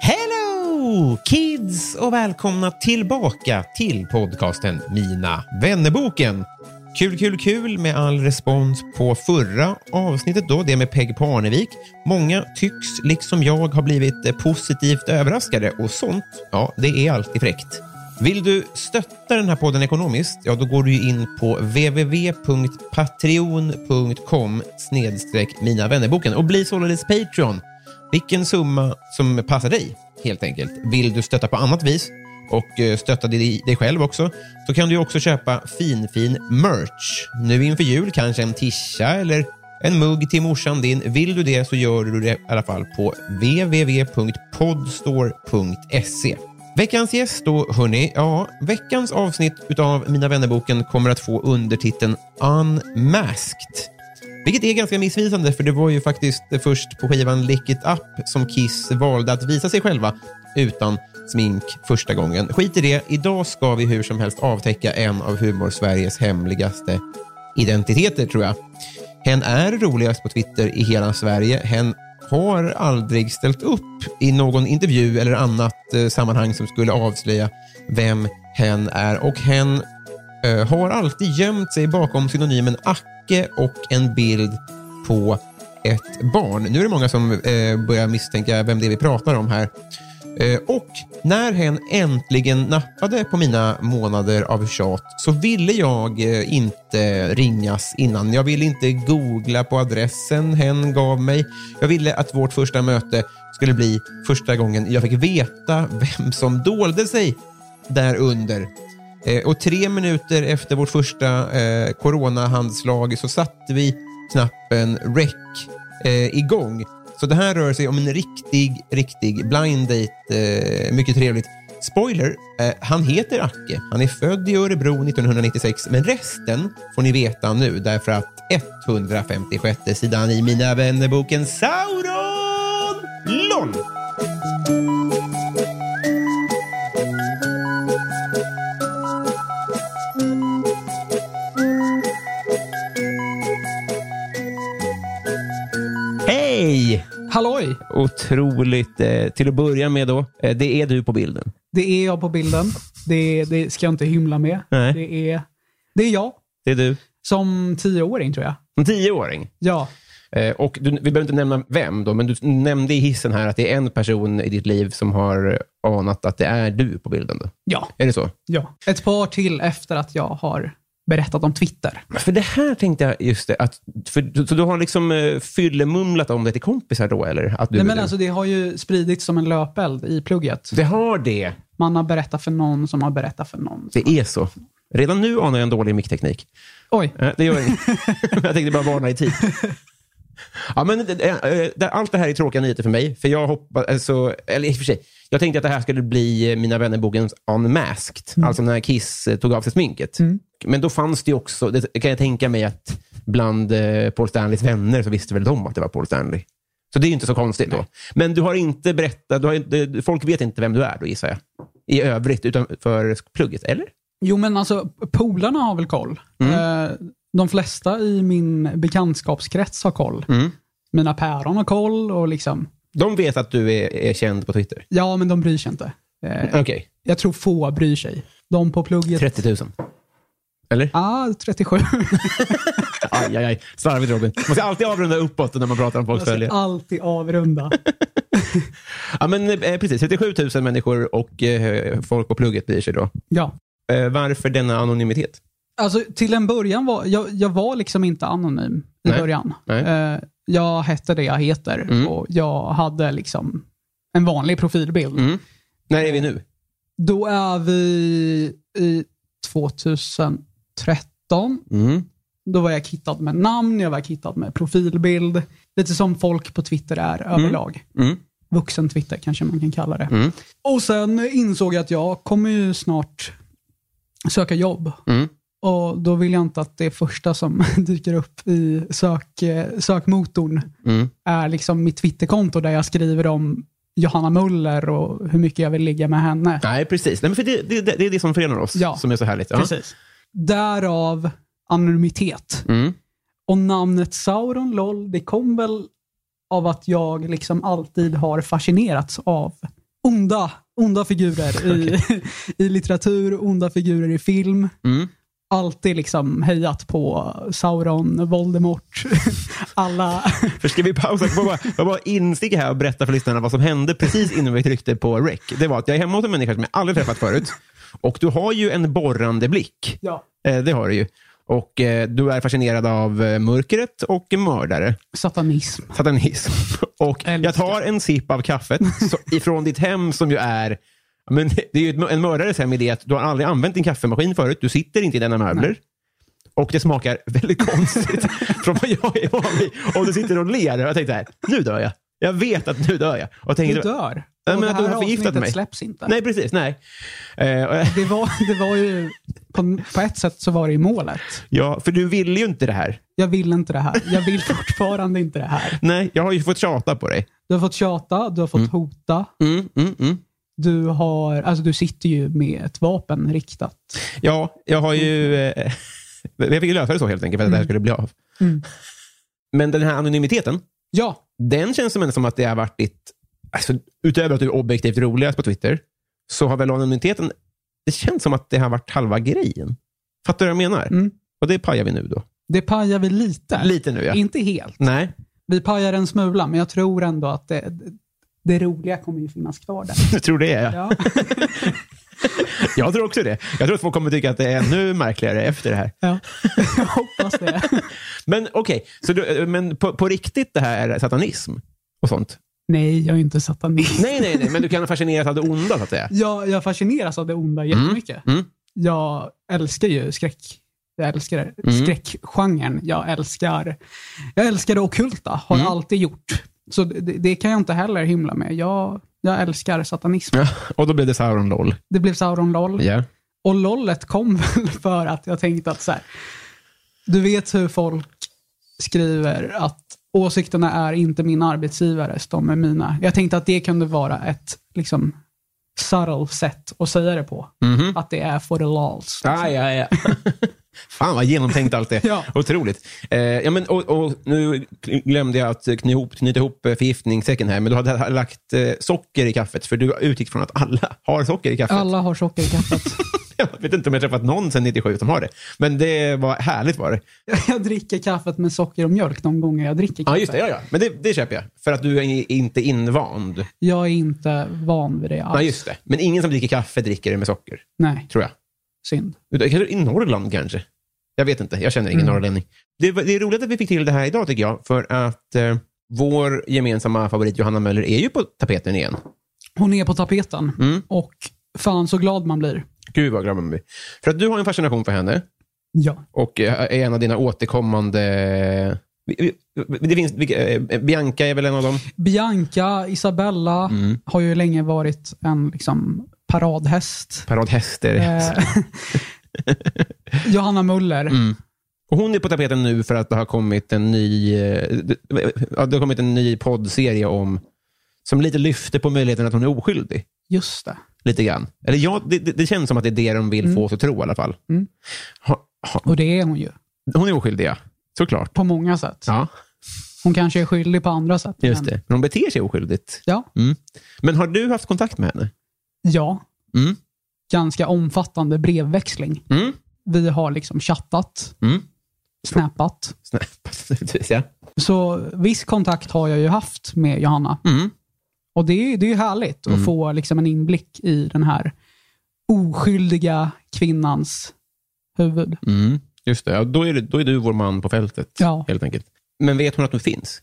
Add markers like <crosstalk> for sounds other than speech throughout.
Hello kids och välkomna tillbaka till podcasten Mina vännerboken. Kul, kul, kul med all respons på förra avsnittet då, det med Peg Parnevik. Många tycks, liksom jag, ha blivit eh, positivt överraskade och sånt, ja, det är alltid fräckt. Vill du stötta den här podden ekonomiskt, ja, då går du ju in på www.patreon.com snedstreck Mina vännerboken och bli således Patreon. Vilken summa som passar dig, helt enkelt. Vill du stötta på annat vis och eh, stötta dig, dig själv också, så kan du ju också köpa fin, fin merch. Nu inför jul, kanske en tisha eller en mugg till morsan din. Vill du det så gör du det i alla fall på www.podstore.se. Veckans gäst då, hörni. Ja, veckans avsnitt utav Mina vännerboken kommer att få undertiteln Unmasked. Vilket är ganska missvisande, för det var ju faktiskt först på skivan Lick It Up som Kiss valde att visa sig själva utan smink första gången. Skit i det, idag ska vi hur som helst avtäcka en av humor-Sveriges hemligaste identiteter, tror jag. Hen är roligast på Twitter i hela Sverige. Hen har aldrig ställt upp i någon intervju eller annat eh, sammanhang som skulle avslöja vem hen är. Och hen eh, har alltid gömt sig bakom synonymen Acke och en bild på ett barn. Nu är det många som eh, börjar misstänka vem det är vi pratar om här. Eh, Och när hen äntligen nappade på mina månader av tjat så ville jag eh, inte ringas innan. Jag ville inte googla på adressen hen gav mig. Jag ville att vårt första möte skulle bli första gången jag fick veta vem som dolde sig där under. Eh, Och tre minuter efter vårt första eh, coronahandslag så satte vi knappen REC eh, igång. Så det här rör sig om en riktig, riktig blind date. Eh, mycket trevligt. Spoiler, eh, han heter Acke. Han är född i Örebro 1996, men resten får ni veta nu därför att 156 sidan i Mina vännerboken Sauron LOL! Hej! Halloj! Otroligt. Eh, till att börja med då, eh, det är du på bilden. Det är jag på bilden. Det, det ska jag inte hymla med. Nej. Det, är, det är jag Det är du. som tioåring tror jag. En tioåring. Ja, Eh, och du, vi behöver inte nämna vem då, men du nämnde i hissen här att det är en person i ditt liv som har anat att det är du på bilden. Då. ja, Är det så? ja. Ett par till efter att jag har berättat om Twitter. För det här tänkte jag just det, att, för, så du har liksom eh, fyllemumlat om det till kompisar då, eller? Att du, Nej, är men du. alltså, det har ju spridits som en löpeld i plugget. Det har det. Man har berättat för någon som har berättat för någon. Det är så. Redan nu anar jag en dålig mickteknik. Oj, Eh, Det gör inget. jag tänkte bara varna i tid. Ja, men, eh, eh, det- allt det här är tråkiga nyheter för mig. För jag, hoppa, alltså, eller, i och för sig, jag tänkte att det här skulle bli eh, Mina vänner-bokens Unmasked. Alltså när Kiss eh, tog av sig sminket. Men då fanns det ju också, det kan jag tänka mig att bland eh, Paul Stanleys vänner så visste väl de att det var Paul Stanley. Så det är ju inte så konstigt då. Men du har inte berättat, du har, inte- folk vet inte vem du är då gissar jag. I övrigt utanför plugget, eller? jo men alltså polarna har väl koll. Eh, De flesta i min bekantskapskrets har koll. Mina päron har koll och liksom, De vet att du är, är känd på Twitter. ja men de bryr sig inte. Okej, Jag tror få bryr sig. De på plugget... 30 000. Eller? Ah, 37. Aj, aj, aj. Slarvigt Robin. Man ska alltid avrunda uppåt när man ah. pratar om folks Jag ska följare. alltid Alltså, avrunda. Ja, men eh, precis. 37 000 människor och eh, folk på plugget blir sig då. Ja. Eh, varför denna anonymitet? Alltså, till en början var jag, jag var liksom inte anonym i Nej. början. Nej. Mm. Eh, jag hette det jag heter och jag hade liksom en vanlig profilbild. När är vi nu? Då är vi i 2013. Mm. Då var jag kittad med namn, jag var kittad med profilbild. Lite som folk på Twitter är överlag. Mm. Vuxen Twitter kanske man kan kalla det. Och sen insåg jag att jag kommer ju snart söka jobb. Mm. Och då vill jag inte att det första som <laughs> dyker upp i sök, eh, sökmotorn Mm. är liksom mitt Twitterkonto där jag skriver om Johanna Muller och hur mycket jag vill ligga med henne. Nej, precis. Nej, men för det, det, det är det som förenar oss, Ja. som är så härligt. Ja. Precis. Därav anonymitet. Mm. Och namnet Sauron LOL, det kom väl av att jag liksom alltid har fascinerats av onda, onda figurer <laughs> i, <laughs> i litteratur, onda figurer i film. Mm. Alltid liksom hejat på Sauron, Voldemort, <laughs> <laughs> alla. För ska vi pausa? Jag bara, jag bara insticka här och berätta för lyssnarna vad som hände precis innan vi tryckte på rec. Det var att jag är hemma hos en människa som jag aldrig träffat förut. Och du har ju en borrande blick. Ja. Eh, det har du ju. Och eh, du är fascinerad av eh, mörkret och mördare. Satanism. satanism. <laughs> Och Älskar. jag tar en sipp av kaffet så, ifrån ditt hem som ju är... Men det är ju ett- en mördares hem i det att du har aldrig använt din kaffemaskin förut. Du sitter inte i denna möbler. Och det smakar väldigt konstigt <laughs> från vad jag är van vid. Och du sitter och ler. Och jag tänkte så här, nu dör jag. Jag vet att nu dör jag. Och jag Du tänkte, dör. men Och det att du här har förgiftat avsnittet mig. släpps inte. Nej, precis. Nej. Eh, och <laughs> jag- Det, var, det var ju, på, på ett sätt så var det ju målet. ja, för du ville ju inte det här. Jag vill inte det här. Jag <laughs> vill fortfarande inte det här. Nej, jag har ju fått tjata på dig. Du har fått tjata, du har Mm. fått hota. Du, har, alltså du sitter ju med ett vapen riktat. Ja, jag har ju... Eh, <laughs> jag fick ju lösa det så helt enkelt för att det här skulle bli av. Men den här anonymiteten, Ja, den känns som, ändå som att det har varit ditt... Alltså, utöver att du är objektivt roligast på Twitter, så har väl anonymiteten... Det känns som att det har varit halva grejen. Fattar du vad jag menar? Mm. Och det pajar vi nu då. det pajar vi lite. Lite nu ja. Inte helt. Nej. <laughs> Vi pajar en smula, men jag tror ändå att det, det roliga kommer ju finnas kvar där. Du tror det? <laughs> Ja. Ja. Jag tror också det. Jag tror att folk kommer tycka att det är ännu märkligare efter det här. ja. <laughs> Jag hoppas det. Men okej, så du- eh, men på, på riktigt det här är satanism och sånt? Nej, jag är inte satanist. Nej, nej, nej, men du kan fascineras av det onda så att säga. Jag, jag fascineras av det onda jättemycket. Mm. Jag älskar ju skräck. Jag älskar Mm. skräckgenren. Jag älskar, jag älskar det ockulta. Har Mm. alltid gjort. Så det, det kan jag inte heller himla med. Jag, jag älskar satanism. Ja, och då blev det Sauron LOL. Det blev Sauron LOL. Ja. Och lollet kom <laughs> väl för att jag tänkte att så här, du vet hur folk skriver att åsikterna är inte min arbetsgivares, de är mina. Jag tänkte att det kunde vara ett liksom subtle sätt att säga det på. Mhm. Att det är for the lols. Ah, ja, ja. <laughs> Fan vad genomtänkt allt <laughs> det Ja. Otroligt. Eh, ja, men, och, och, nu glömde jag att knyta ihop, knyta ihop eh, förgiftningssäcken här, men du hade lagt eh, socker i kaffet, för du utgick från att alla <laughs> har socker i kaffet. Alla har socker i kaffet. <laughs> Jag vet inte om jag träffat någon sedan 97 som har det, men det var härligt var det. <laughs> jag dricker kaffet med socker och mjölk de gånger jag dricker kaffe. Ja, just det. Ja, ja. Men det, det köper jag, för att du är i- inte invand. Jag är inte van vid det alls. Nej, just det. Men ingen som dricker kaffe dricker det med socker, Nej, tror jag. synd. Utan- Kanske i Norrland kanske. Jag vet inte, jag känner ingen norrlänning. Det, var- det är roligt att vi fick till det här idag tycker jag, för att eh, vår gemensamma favorit Johanna Möller är ju på tapeten igen. Hon är på tapeten Mm. och fan så glad man blir. Gud vad glad man blir. För att du har en fascination för henne Ja. och eh, är en av dina återkommande... vi- vi- Det finns, vilka- eh, Bianca är väl en av dem? Bianca, Isabella Mm. har ju länge varit en liksom, paradhäst. Paradhäster. Eh, <laughs> Johanna Muller. Mm. Och hon är på tapeten nu för att det har kommit en ny, eh, det- ja, det har kommit en ny poddserie om, som lite lyfter på möjligheten att hon är oskyldig. Just det. Lite grann. Eller ja, det, det, det känns som att det är det de vill Mm. få oss att tro i alla fall. Ha, ha, Och det är hon ju. hon är oskyldig, ja. Såklart. På många sätt. Ja, Hon kanske är skyldig på andra sätt. just men- det. Men hon beter sig oskyldigt. Ja. Mm. Men har du haft kontakt med henne? Ja, Mm. ganska omfattande brevväxling. Mm. Vi har liksom chattat, Mm. snappat. <laughs> Snappat, naturligtvis, ja. Så viss kontakt har jag ju haft med Johanna. Mm. Och det är ju det är ju härligt att få liksom en inblick i den här oskyldiga kvinnans huvud. Mm. Just det. Ja, då, är det, då är du vår man på fältet, Ja. helt enkelt. Men vet hon att du finns?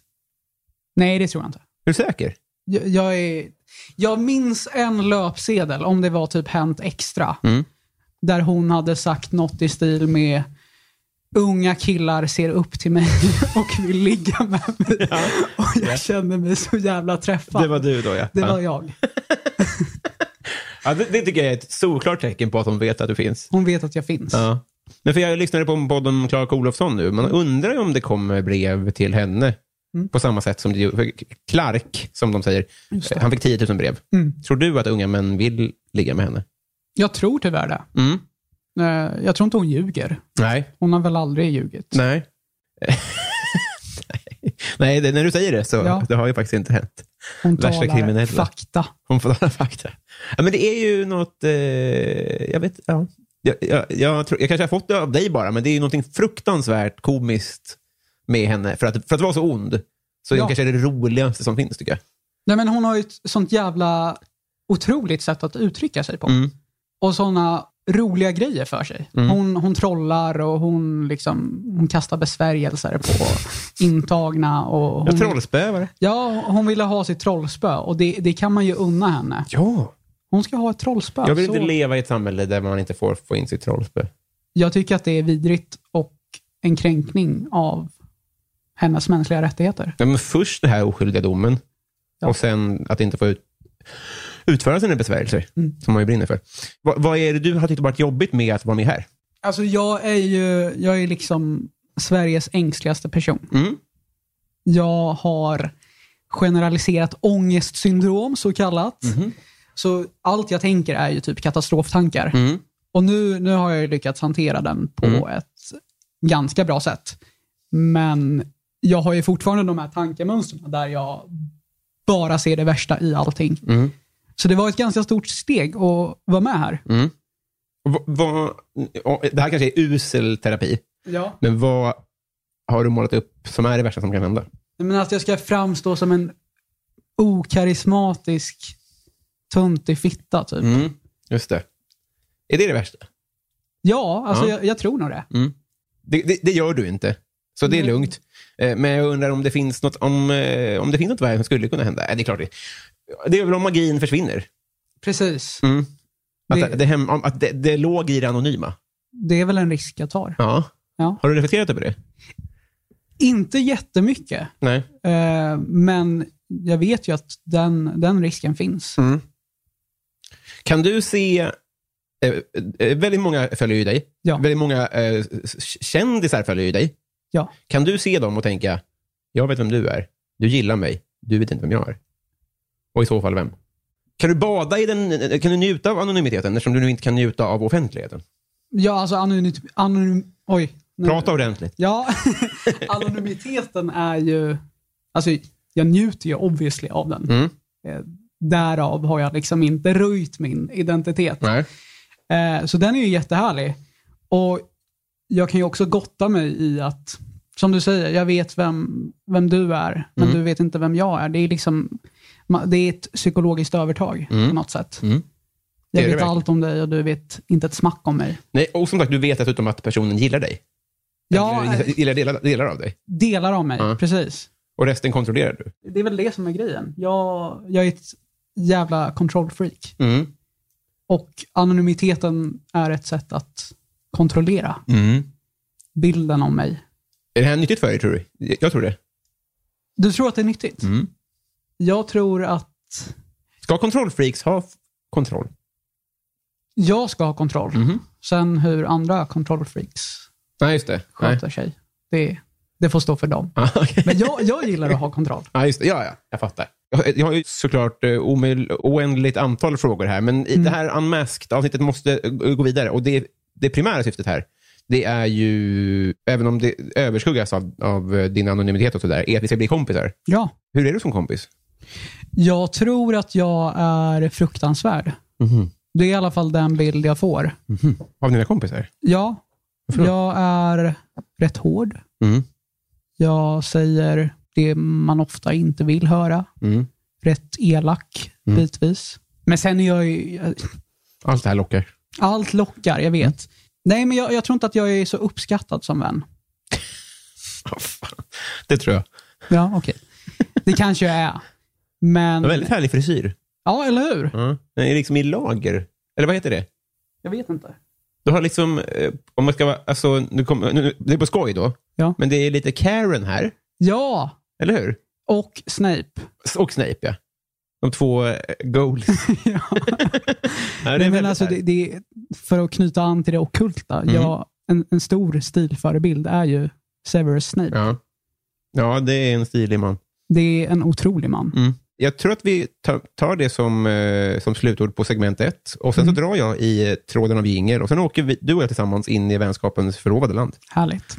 Nej, det tror jag inte. Är du säker? Jag, jag, är, jag minns en löpsedel, om det var typ Hänt Extra, Mm. där hon hade sagt något i stil med Unga killar ser upp till mig <laughs> och vill ligga med mig. Och jag kände mig så jävla träffad. Det var du då, ja. Det var ja. jag. Ja, det, det tycker jag är ett solklart tecken på att hon vet att du finns. Hon vet att jag finns. Ja. Men för jag lyssnade på en podd om Clark Olofsson nu. Man undrar ju om det kommer brev till henne på samma sätt som det gjorde- för Clark, som de säger. Han fick 10 000 brev. Tror du att unga män vill ligga med henne? Jag tror tyvärr det. Mm. Eh, Jag tror inte hon ljuger. Nej. Hon har väl aldrig ljugit. Nej. <laughs> Nej, det, när du säger det så Ja. det har ju faktiskt inte hänt. Hon Värsta talar kriminella. fakta. Hon får <laughs> alla fakta. Ja, men det är ju något... Eh, jag vet... Ja. Jag, jag, jag, tror, jag kanske har fått det av dig bara, men det är ju någonting fruktansvärt komiskt med henne. För att, för att vara så ond så är Ja. hon kanske det roligaste som finns, tycker jag. Nej, men hon har ju ett sånt jävla otroligt sätt att uttrycka sig på. Mm. Och såna roliga grejer för sig. Hon, hon trollar och hon, liksom, hon kastar besvärjelser på intagna. Och hon, Jag trollspöare. Ja, hon ville ha sitt trollspö och det, det kan man ju unna henne. Ja. Hon ska ha ett trollspö. Jag vill inte så- leva i ett samhälle där man inte får få in sitt trollspö. jag tycker att det är vidrigt och en kränkning av hennes mänskliga rättigheter. Ja, men först den här oskyldiga domen Ja. och sen att inte få ut, utföra sina besvärjelser, Mm. som man ju brinner för. Va, vad är det du har tyckt varit jobbigt med att vara med här? Alltså jag är ju, jag är liksom Sveriges ängsligaste person. Mm. Jag har generaliserat ångestsyndrom, så kallat. Mhm. Så allt jag tänker är ju typ katastroftankar. Mm. Och nu, nu har jag ju lyckats hantera den på ett ganska bra sätt. Men jag har ju fortfarande de här tankemönstren där jag bara ser det värsta i allting. Mm. Så det var ett ganska stort steg att vara med här. Va, va, ja, det här kanske är usel terapi, Ja. men vad har du målat upp som är det värsta som kan hända? Men att jag ska framstå som en okarismatisk töntig fitta, typ. Mm. Just det. Är det det värsta? Ja, alltså Ja. Mm. Jag, jag tror nog det. Det, det, det gör du inte, så det är lugnt. Eh, Men jag undrar om det finns något, om, eh, om det finns något värre som skulle kunna hända? Eh, Det är klart det. Det är väl om magin försvinner. Precis. Mm. Att, Det- det, det, hem, om- att det, det låg i det anonyma. Det är väl en risk jag tar. Ja. Ja. Har du reflekterat över det? Inte jättemycket, Nej. eh, men jag vet ju att den, den risken finns. Mm. Kan du se... eh, eh, Väldigt många följer ju dig. Ja. Väldigt många eh, s- s- kändisar följer ju dig. Ja. Kan du se dem och tänka, jag vet vem du är, du gillar mig, du vet inte vem jag är? Och i så fall vem? Kan du bada i den, eh, kan du njuta av anonymiteten eftersom du nu inte kan njuta av offentligheten? Ja, alltså anonymit... Anonym, oj. nu- Prata ordentligt. Ja, <laughs> anonymiteten är ju... Alltså, jag njuter ju obviously av den. Mm. Eh, Därav har jag liksom inte röjt min identitet. Nej. Eh, Så den är ju jättehärlig. Och jag kan ju också gotta mig i att, som du säger, jag vet vem, vem du är, men Mm. du vet inte vem jag är. Det är liksom, ma- det är ett psykologiskt övertag på något sätt. Mm. Det Jag är det vet verkligen. allt om dig och du vet inte ett smack om mig. Nej, och som sagt, du vet dessutom att personen gillar dig. Ja, Eller eh, gillar delar, delar av dig. delar av mig, Ja. precis. Och resten kontrollerar du. Det är väl det som är grejen. Jag, jag är ett jävla kontrollfreak. Mm. Och anonymiteten är ett sätt att kontrollera Mm. bilden om mig. Är det här nyttigt för dig, tror du? Jag tror det. Du tror att det är nyttigt? Mm. Jag tror att Ska kontrollfreaks ha f- kontroll? jag ska ha kontroll. Mm-hmm. Sen hur andra kontrollfreaks Nej, just det. Nej. sköter sig, det, det får stå för dem. <laughs> Ah, okej. Men jag, jag gillar att <laughs> ha kontroll. Ja, just det. Ja, ja, jag fattar. Jag, jag har ju såklart eh, omöj- oändligt antal frågor här, men i det här Unmasked-avsnittet måste eh, gå vidare. Och det, det primära syftet här, det är ju, även om det överskuggas av, av eh, din anonymitet och sådär, är att vi ska bli kompisar. Ja. Hur är du som kompis? Jag tror att jag är fruktansvärd. Mhm. Det är i alla fall den bild jag får. Av dina kompisar? Ja, Varför då? jag är rätt hård. Mm. Jag säger det man ofta inte vill höra. Mm. Rätt elak, bitvis. Men sen är jag ju... Allt det här lockar. Allt lockar, jag vet. Nej, men jag, jag tror inte att jag är så uppskattad som vän. Det tror jag. Ja, okej. Det kanske jag är. En Men... väldigt härlig frisyr. Ja, eller hur? Mm. Den är liksom i lager. Eller vad heter det? Jag vet inte. Du har liksom, eh, om man ska vara, alltså, nu kommer- nu, det är på skoj då, Ja. men det är lite Karen här, Ja, eller hur? och Snape. S- Och Snape, ja. De två eh, <laughs> goals. ja. Ja, det är Nej, men väldigt Mm. alltså, det, härligt. det, för att knyta an till det ockulta. Jag, en, en stor stilförebild är ju Severus Snape. ja. ja, det är en stilig man. Det är en otrolig man. Mm. Jag tror att vi tar, tar det som, eh, som slutord på segment ett. Och sen så drar jag i eh, tråden av jingel och sen åker vi, du och jag tillsammans in i vänskapens förlovade land. Härligt.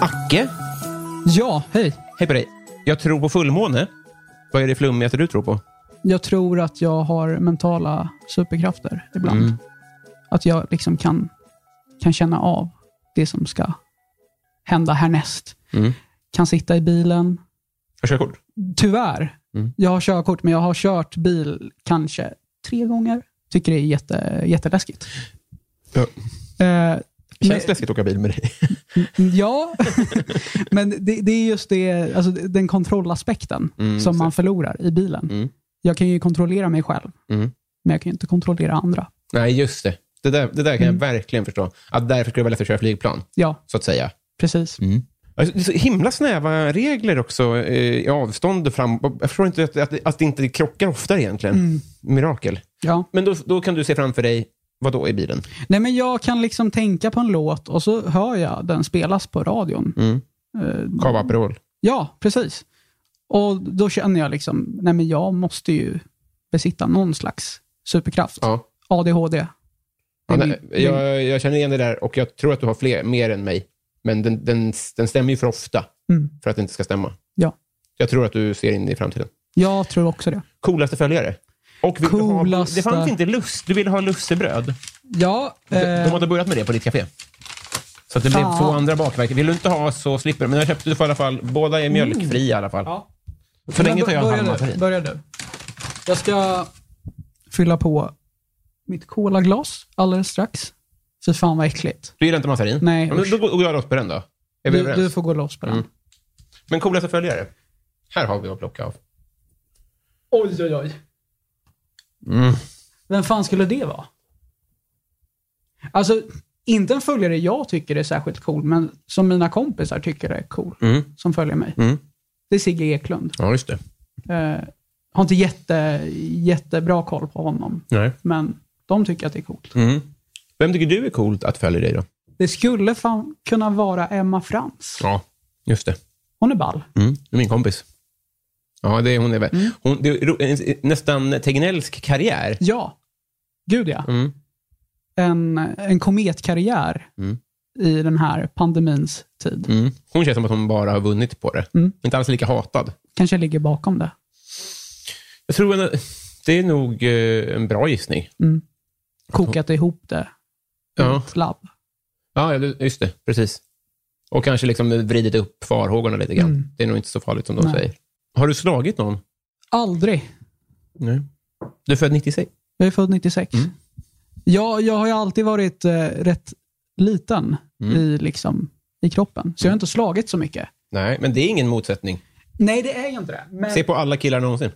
Acke, Ja, hej. hej på dig. Jag tror på fullmåne. Vad är det flummigaste du tror på? Jag tror att jag har mentala superkrafter ibland. Mm. Att jag liksom kan, kan känna av det som ska hända härnäst. Mm. Kan sitta i bilen. Jag kör kort. Tyvärr, Mm. jag har körkort, men jag har kört bil kanske tre gånger. Tycker det är jätte, jätteläskigt. Ja. Eh, men- Känns läskigt att åka bil med dig. <laughs> Ja, men det, det är just det, alltså den kontrollaspekten <laughs> Mm, som man exakt. förlorar i bilen. Mm. Jag kan ju kontrollera mig själv, Mm. men jag kan ju inte kontrollera andra. Nej, just det. Det där, det där kan jag verkligen förstå. Att därför skulle det vara lätt att köra flygplan, Ja, så att säga. precis. Alltså, det är så himla snäva regler också eh, i avstånd och fram. Jag förstår inte att, att, att det inte krockar oftare egentligen. Mm. Mirakel. Ja. Men då, då kan du se framför dig, vad då i bilen? Nej, men jag kan liksom tänka på en låt och så hör jag den spelas på radion. Mm. Eh, Cava Aperol. Ja, precis. Och då känner jag liksom, nej men jag måste ju besitta någon slags superkraft. Ja. ADHD. Det Ja, är nej, min- min- jag, jag känner igen det där och jag tror att du har fler, mer än mig. Men den, den, den stämmer ju för ofta Mm. för att det inte ska stämma. Ja. Jag tror att du ser in i framtiden. Jag tror också det. Coolaste följare. Och vill du Coolaste- Ha, det fanns inte lust. Du ville ha lussebröd. Ja, De, de eh, hade börjat med det på ditt café. Så att det blev Fan. två andra bakverk. Vill du inte ha så slipper du. Men jag köpte för i alla fall. Båda är mjölkfria i alla fall. Ja. För länge tar jag börja hand om Mm. du, massarin. börja du. Jag ska fylla på mitt kolaglas alldeles strax. Fy fan vad äckligt. Du gillar inte massarin? Nej, Ja, men usch. då går går jag loss på den då. Är vi Du, överens? Mm. du får gå loss på den. Men coolaste följare. Här har vi att plocka av. Oj, oj, oj. Mm. Vem fan skulle det vara? Alltså, inte en följare jag tycker är särskilt cool, men som mina kompisar tycker är cool, som följer mig. Mm. Det är Sigge Eklund. Ja, just det. Eh, har inte jätte, jättebra koll på honom, Nej. men de tycker att det är coolt. Mm. Vem tycker du är coolt att följa dig då? Det skulle fan kunna vara Emma Frans. Ja, just det. Hon är ball. Det är min kompis. Ja, det är hon. Är väl. Mm. hon det är ro- en- nästan Tegnellsk karriär. Ja. Gud ja. Mm. En, en kometkarriär Mm. i den här pandemins tid. Mm. Hon känns som att hon bara har vunnit på det. Mm. Inte alls lika hatad. Kanske ligger bakom det. Jag tror en, det är nog eh, en bra gissning. Mm. Kokat ihop det i Ja. ett labb. Ja, ja, du- just det. Precis. Och kanske liksom vridit upp farhågorna lite grann. Det är nog inte så farligt som de Mm. Nej. säger. Har du slagit någon? Aldrig. Nej. Du är född 96? Jag är född 96. Mm. Jag, jag har ju alltid varit eh, rätt liten Mm. i, liksom, i kroppen, så jag har inte slagit så mycket. Nej, men det är ingen motsättning. Nej, det är ju inte det. Men, Se på alla killar någonsin.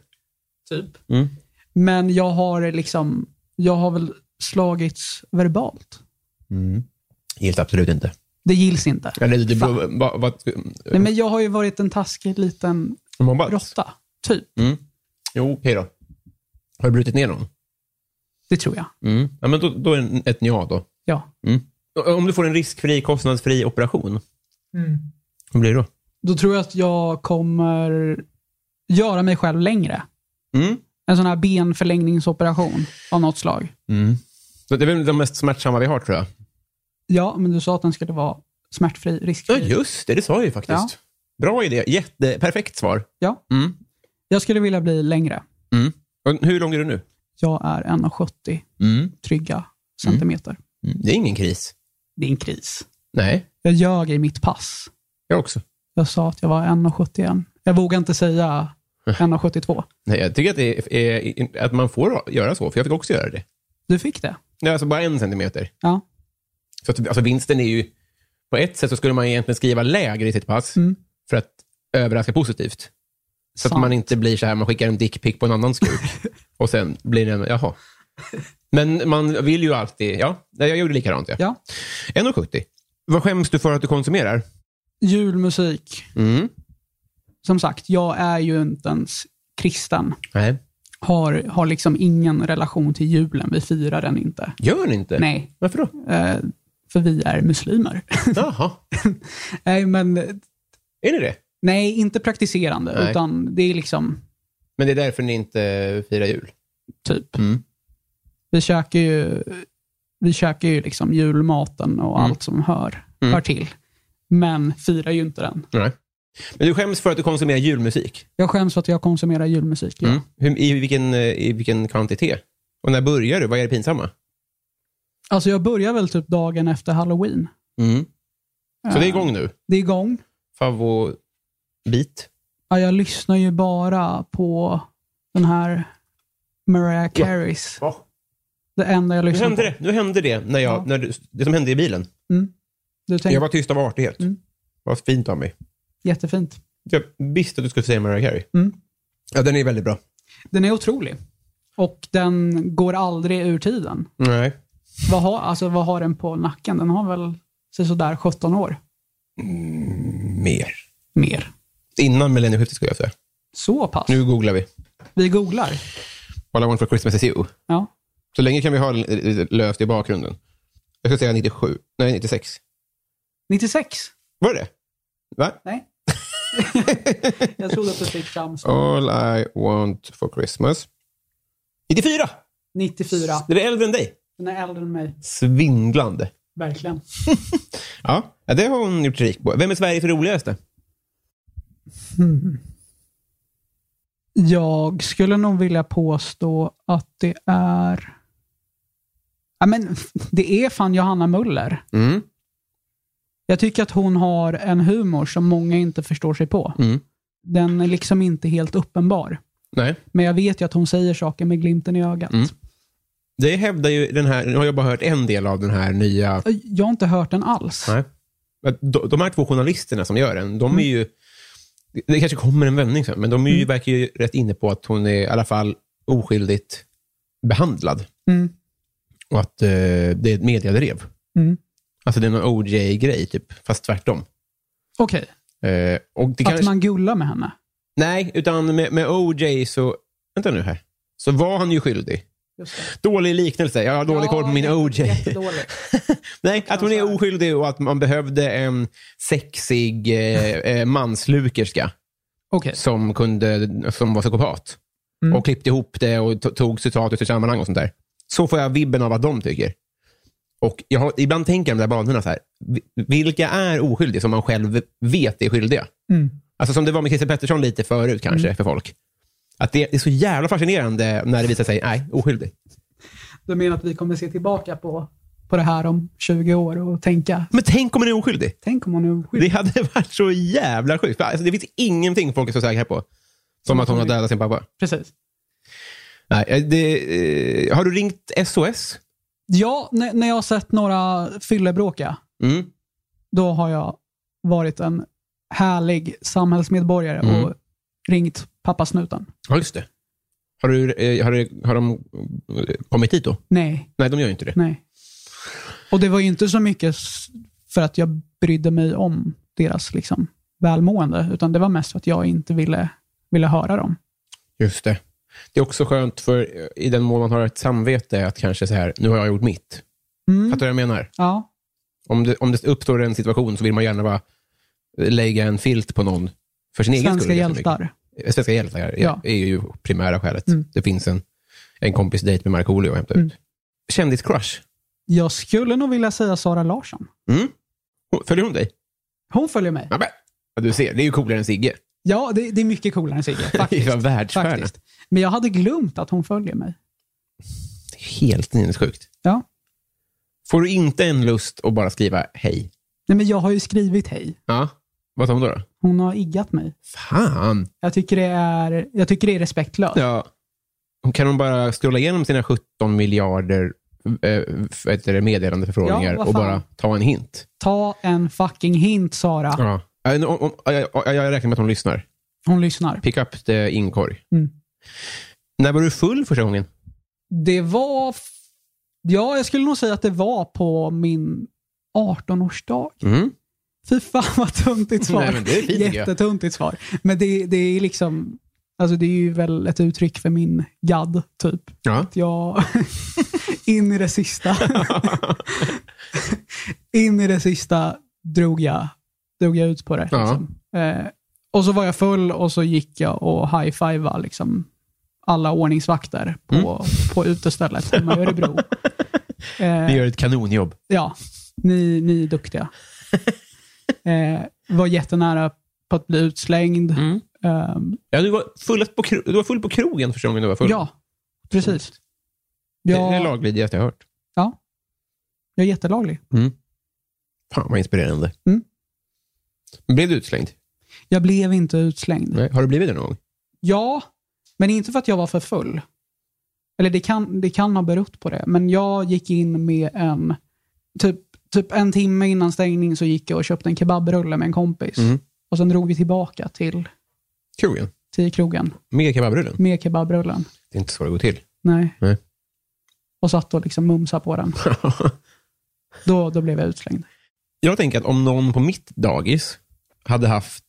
typ. Mm. men jag har liksom, jag har väl slagits verbalt. Helt absolut inte. Det gills inte. Eller det Fan. beror... Va, va, Nej, men jag har ju varit en taskig liten Mobbats? råtta, typ. Mm. Jo, okej då. Har du brutit ner någon? Det tror jag. Mm. Ja, men då, då är det ett nja då. Ja. Mm. Om du får en riskfri, kostnadsfri operation, vad blir det då? då tror jag att jag kommer göra mig själv längre. Mm. En sån här benförlängningsoperation av något slag. Mm. Så det är väl de mest smärtsamma vi har, tror jag. Ja, men du sa att den skulle vara smärtfri, Ja, riskfri. just det. Det sa jag ju faktiskt. Ja. Bra idé. Jätte, perfekt svar. Ja. Mm. Jag skulle vilja bli längre. Mm. Och hur lång är du nu? Jag är 1,70 Mm. trygga centimeter. Det är ingen kris. Det är en kris. Nej, Jag ljög i mitt pass. jag också. Jag sa att jag var 1,71. Jag vågar inte säga <laughs> 1,72. Nej, jag tycker att, det är, är, att man får göra så, för jag fick också göra det. Du fick det? Nej, alltså bara en centimeter. Ja. Så att, alltså vinsten är ju... På ett sätt så skulle man egentligen skriva lägre i sitt pass Mm. för att överraska positivt. Så att Sant. man inte blir så här, man skickar en dickpic på en annan <laughs> skurk och sen blir den, jaha. Men man vill ju alltid, ja, nej, jag gjorde likadant. Ja. Ja. 1,70. Vad skäms du för att du konsumerar? Julmusik. Mm. Som sagt, jag är ju inte ens kristen. Nej. Har, har liksom ingen relation till julen. Vi firar den inte. Gör ni inte? Nej, Varför då? <laughs> eh, för vi är muslimer. Jaha, nej, men är ni det? nej, inte praktiserande, Nej. utan det är liksom Men det är därför ni inte firar jul? typ. Mm. Vi käkar ju, vi käkar ju liksom julmaten och Mm. allt som hör, Mm. hör till. Men firar ju inte den. Nej. Men du skäms för att du konsumerar julmusik? Jag skäms för att jag konsumerar julmusik. Ja. Mm. Hur, i, vilken, eh, I vilken kvantitet? Och när börjar du? Vad är det pinsamma? Alltså jag börjar väl typ dagen efter halloween. Mm. Så det är igång nu? Det är igång. Favoritbit? Ja, jag lyssnar ju bara på den här Mariah Careys. Va? Det enda jag Nu lyssnar hände på. det, nu hände det, när jag, Ja. när du, det som hände i bilen. Du tänker, Jag var tyst av artighet. Mm. Vad fint av mig. Jättefint. Jag visste att du skulle säga Mariah Carey. Mm. Ja, den är väldigt bra. Den är otrolig. Och den går aldrig ur tiden. Nej. Vad har, alltså, vad har den på nacken? Den har väl så- sådär 17 år Mer. mer. Innan millennieskiftet skulle jag säga. Så pass. Nu googlar vi. Vi googlar. All I want for Christmas is you. Ja. Så länge kan vi ha den löst i bakgrunden. Jag ska säga 97. Nej, 96. 96? Var det det? Va? Nej. <laughs> jag trodde att du fick fram så. All I want for Christmas. 94! 94. Den är äldre än dig. Den är äldre än mig. Svindlande. Verkligen. Ja, ja, det har hon gjort sig rik på. Vem är Sveriges roligaste? Jag skulle nog vilja påstå att det är... Ja, men, det är fan Johanna Muller. Mm. Jag tycker att hon har en humor som många inte förstår sig på. Mm. Den är liksom inte helt uppenbar. Nej. Men jag vet ju att hon säger saker med glimten i ögat. Mm. Det hävdar ju den här, nu har jag bara hört en del av den här nya... Jag har inte hört den alls. Nej. Men de- De här två journalisterna som gör den, de är Mm. ju... Det kanske kommer en vändning sen, men de är ju, verkar ju rätt inne på att hon är i alla fall oskyldigt behandlad. Mm. Och att eh, det är ett mediedrev. Mm. Alltså det är någon OJ-grej, typ, fast tvärtom. Okej, Eh, och det kanske... att man gullar med henne. Nej, utan med, med OJ så... Vänta nu här. Så var han ju skyldig. Just Dålig liknelse. Jag har dålig koll på min OJ. <laughs> Nej, att hon Alltså. är oskyldig och att man behövde en sexig eh, eh, manslukerska <laughs> Okej, som, kunde, som var psykopat. Mm. Och klippte ihop det och to- tog citat ur sitt sammanhang och sånt där. Så får jag vibben av vad de tycker. Och jag har, ibland tänker jag de där banorna så här. vi- Vilka är oskyldiga som man själv vet är skyldiga? Mm. Alltså som det var med Christer Pettersson lite förut kanske för folk. Att det är så jävla fascinerande när det visar sig, nej, oskyldig. du menar att vi kommer se tillbaka på, på det här om 20 år och tänka, Men tänk om den är oskyldig. tänk om hon är oskyldig. Det hade <laughs> varit så jävla sjukt. För Alltså, det finns ingenting folk är så säkra på. Som att hon har dödat sin pappa. Precis. Nej, eh, det, eh, har du ringt SOS? Ja, när, när jag har sett några fyllebråka, Mm. då har jag varit en härlig samhällsmedborgare Mm. och ringt pappasnuten. Ja, just det. Har, du, eh, har, du, har de eh, kommit hit då? Nej, Nej, de gör ju inte det. nej. Och det var ju inte så mycket s- för att jag brydde mig om deras liksom, välmående, utan det var mest för att jag inte ville, ville höra dem. Just det. Det är också skönt för eh, i den mån man har ett samvete att kanske så här, nu har jag gjort mitt. Mm. Fattar du vad jag menar? Ja, Om det, om det uppstår en situation så vill man gärna vara lägga en filt på någon för sin egen Svenska skull. ganska hjältar. mycket. Eh, Svenska hjältar är, Ja. är ju primära skälet. Mm. Det finns en, en kompis dejt med Markoolio att hämta Mm. ut. Kändiscrush. Jag skulle nog vilja säga Sara Larsson. Mm. Hon- Följer hon dig? Hon följer mig. Ja, men. Ja, du ser, det är ju coolare än Sigge. Ja, det, det är mycket coolare <laughs> än Sigge. Det är Faktiskt. världsstjärna. faktiskt. Men jag hade glömt att hon följer mig. Helt sinnessjukt. Ja. Får du inte en lust att bara skriva hej? Nej, men jag har ju skrivit hej. Ja. Vad tar hon då? då? Hon har iggat mig. Fan! Jag tycker det är, jag tycker det är respektlöst. Ja. Kan hon bara scrolla igenom sina 17 miljarder eh, vad heter det, meddelandeförfrågningar Ja, vad och fan. bara ta en hint? Ta en fucking hint, Sara. Ja. Om, om, jag, jag, jag räknar med att hon lyssnar. Hon lyssnar. Pick up the inkorg. Mm. När var du full första gången? Det var... f- Ja, jag skulle nog säga att det var på min 18-årsdag. Mm. Fy fan vad tuntigt svar. Nej, men det är fint, tycker jag. Jättetuntigt svar. Men det, det är liksom... Alltså det är ju väl ett uttryck för min gadd, typ. Ja. att jag... <laughs> in i det sista. <laughs> in i det sista drog jag, drog jag ut på det. Ja. Liksom. Eh, och så var jag full och så gick jag och high-fivade liksom, alla ordningsvakter på, Mm. på utestället hemma <laughs> i Örebro. Vi Eh, gör ett kanonjobb. ja, ni, ni är duktiga. <laughs> Eh, var jättenära på att bli utslängd. Mm. Ehm, Ja, du, var fullast på, kro- du var full på krogen första gången du var full. ja, precis. Det är det Jag, laglydigaste jag har hört. ja, jag är jättelaglig. Fan vad inspirerande. Mm. Blev du utslängd? Jag blev inte utslängd. Nej. Har du blivit det någon gång? Ja, men inte för att jag var för full. Eller det kan, det kan ha berott på det, men jag gick in med en... Typ, typ en timme innan stängning så gick jag och köpte en kebabrulle med en kompis. Mm. Och sen drog vi tillbaka till, Krogen? till krogen Med kebabrullen? med kebabrullen. Det är inte så det går till. Nej. Nej. Och satt och liksom mumsade <laughs> på den. Då, då blev jag utslängd. jag tänker att om någon på mitt dagis hade haft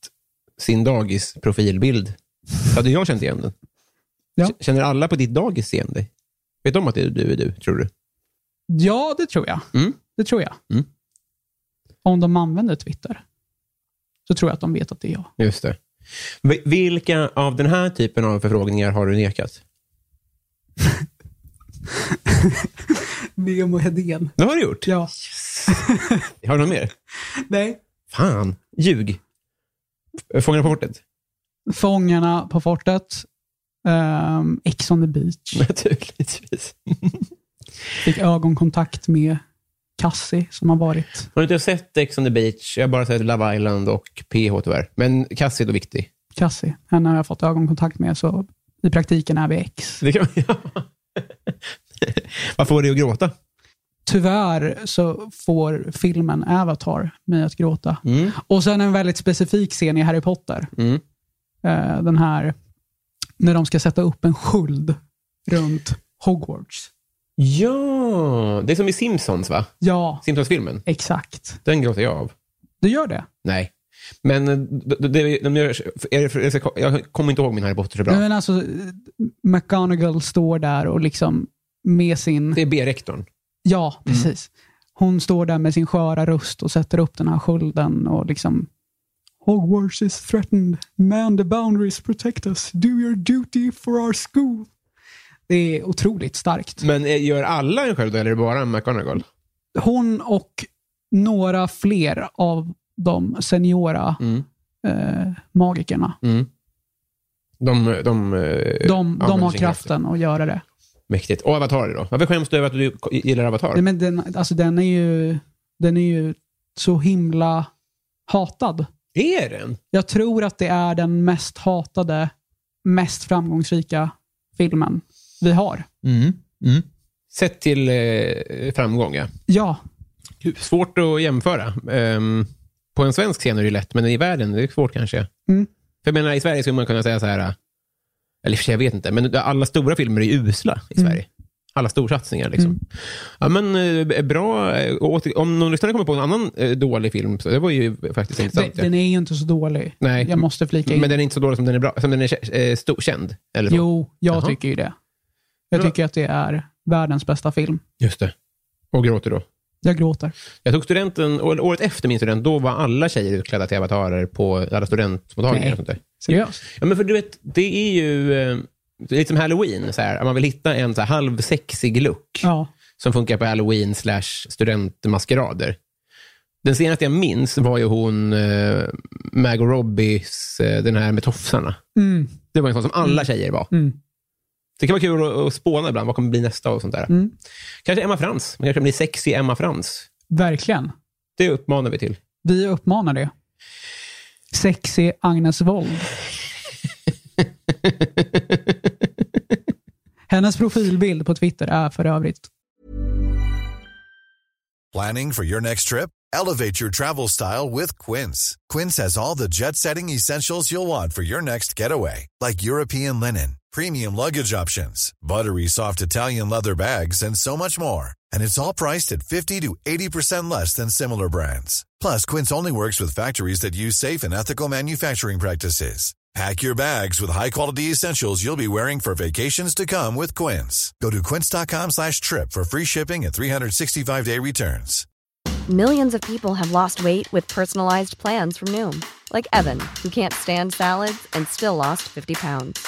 sin dagis profilbild, hade jag känt igen den. Ja. K- Känner alla på ditt dagis igen dig? Vet de att det är du är du, tror du? Ja, det tror jag. Mm. Det tror jag. Mm. Om de använder Twitter så tror jag att de vet att det är jag. Just det. Vi- Vilka av den här typen av förfrågningar har du nekat? Nemo Hedén. Det har du gjort. Ja. Har du något mer? Nej. Fan, ljug. Fångarna på fortet? Fångarna på fortet. Um, Ex on the beach. <laughs> Naturligtvis. Fick ögonkontakt med Cassie som har varit. Har du inte sett Ex on the beach? Jag har bara sett Love Island och PH tyvärr. Men Cassie är då viktig. Cassie, henne har jag fått ögonkontakt med, så i praktiken är vi ex. Det kan man, <laughs> ja. Vad får dig att gråta? Tyvärr så får filmen Avatar mig att gråta. Mm. Och sen en väldigt specifik scen i Harry Potter. Mm. Eh, den här, när de ska sätta upp en sköld runt Hogwarts. Ja, det är som i Simpsons, va? Ja, Simpsons-filmen. exakt. Den gråter jag av. Du gör det? Nej. Men eh, d- d- det, de gör, är det för, jag ska- jag kommer inte ihåg min Harry Potter så Nej, bra. men alltså, McGonagall står där och liksom med sin... Det är B-rektorn. Mm. Ja, precis. Hon står där med sin sköra röst och sätter upp den här skölden och liksom... Hogwarts is threatened. Man the boundaries protect us. Do your duty for our school. Det är otroligt starkt. Men eh, gör alla en sköld eller är det bara McGonagall? Hon och några fler av de seniora Mm. eh, magikerna, De, de, eh, de, använder de har sin kraften att göra det. Mäktigt. Och Avatar då? Varför skäms du över att du gillar Avatar? Nej, men den, alltså, den, är ju, den är ju så himla hatad. Är den? Jag tror att det är den mest hatade, mest framgångsrika filmen vi har. Sett till eh, framgång, ja. Ja, Gud, Svårt att jämföra. Ehm, på en svensk scen är det lätt, men i världen är det svårt kanske. Mm. För jag menar, i Sverige skulle man kunna säga så här, eller i och för sig, jag vet inte, men alla stora filmer är ju usla i Mm. Sverige. Alla storsatsningar. Liksom. Ja, men eh, bra. eh, och åter- Om någon lyssnare kommer på en annan eh, dålig film, så det var ju faktiskt den, intressant. ja. den är ju inte så dålig. Nej, Jag måste flika in. men den är inte så dålig som den är, bra, som den är kä- eh, stor, känd. Eller så. Jo, jag Jaha. tycker ju det. Jag Bra. tycker att det är världens bästa film. Just det. Och gråter då. Jag gråter. Jag tog studenten, å- året efter min student, då var alla tjejer utklädda till avatarer på alla studentmottagningar. Nej. och sånt där. Seriöst. Ja, men för du vet, det är ju eh, det är lite som halloween. Så här. Man vill hitta en så här, halvsexig look Ja. som funkar på halloween slash studentmaskerader. Den senaste jag minns var ju hon eh, Margot Robbies, eh, den här med tofsarna. Mm. Det var en sån som alla tjejer var. Mm. Det kan vara kul att, att spåna ibland. Vad kommer bli nästa och sånt där. Mm. Kanske Emma Frans. Man kanske blir sexy Emma Frans. Verkligen. Det uppmanar vi till. Vi uppmanar det. Sexy Agnes Wold. Hennes profilbild på Twitter är för övrigt Planning for your next trip? Elevate your travel style with Quince. Quince has all the jet setting essentials you'll want for your next getaway, like European linen, premium luggage options, buttery soft Italian leather bags, and so much more. And it's all priced at 50 to 80% less than similar brands. Plus, Quince only works with factories that use safe and ethical manufacturing practices. Pack your bags with high-quality essentials you'll be wearing for vacations to come with Quince. Go to quince.com slash trip for free shipping and 365-day returns. Millions of people have lost weight with personalized plans from Noom, like Evan, who can't stand salads and still lost 50 pounds.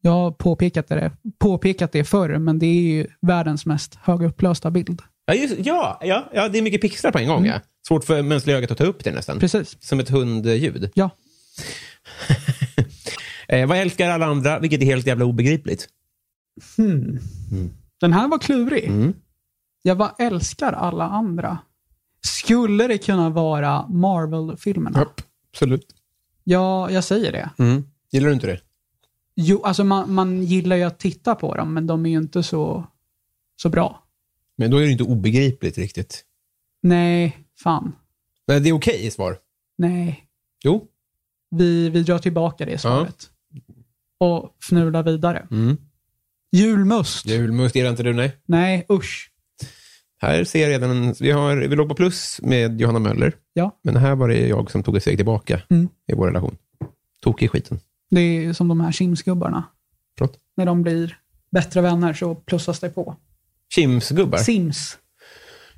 jag har påpekat det, påpekat det förr, men det är ju världens mest högupplösta bild. Ja, just, ja, ja, ja, det är mycket pixlar på en gång. Ja. Svårt för mänskliga ögat att ta upp det nästan. Mm. Precis. Som ett hundljud. Ja. Eh, vad älskar alla andra, vilket är helt jävla obegripligt. Den här var klurig. Jag bara älskar alla andra. Skulle det kunna vara Marvel-filmerna? absolut. Ja, jag säger det. Mm. Gillar du inte det? Jo, alltså man, man gillar ju att titta på dem, men de är ju inte så, så bra. Men då är det inte obegripligt riktigt. Nej, fan. Men det är okej svar. Nej. Jo. Vi, vi drar tillbaka det svaret. Och fnular vidare. Julmust. Julmust gillar inte du, nej. Nej, usch. Här ser jag redan, en, vi, har, vi låg på plus med Johanna Möller. Ja, Men här var det jag som tog ett steg tillbaka Mm. i vår relation. Tokig i skiten. det är ju som de här simsgubbarna. Förlåt? När de blir bättre vänner så plussas det på. Chimsgubbar. Sims.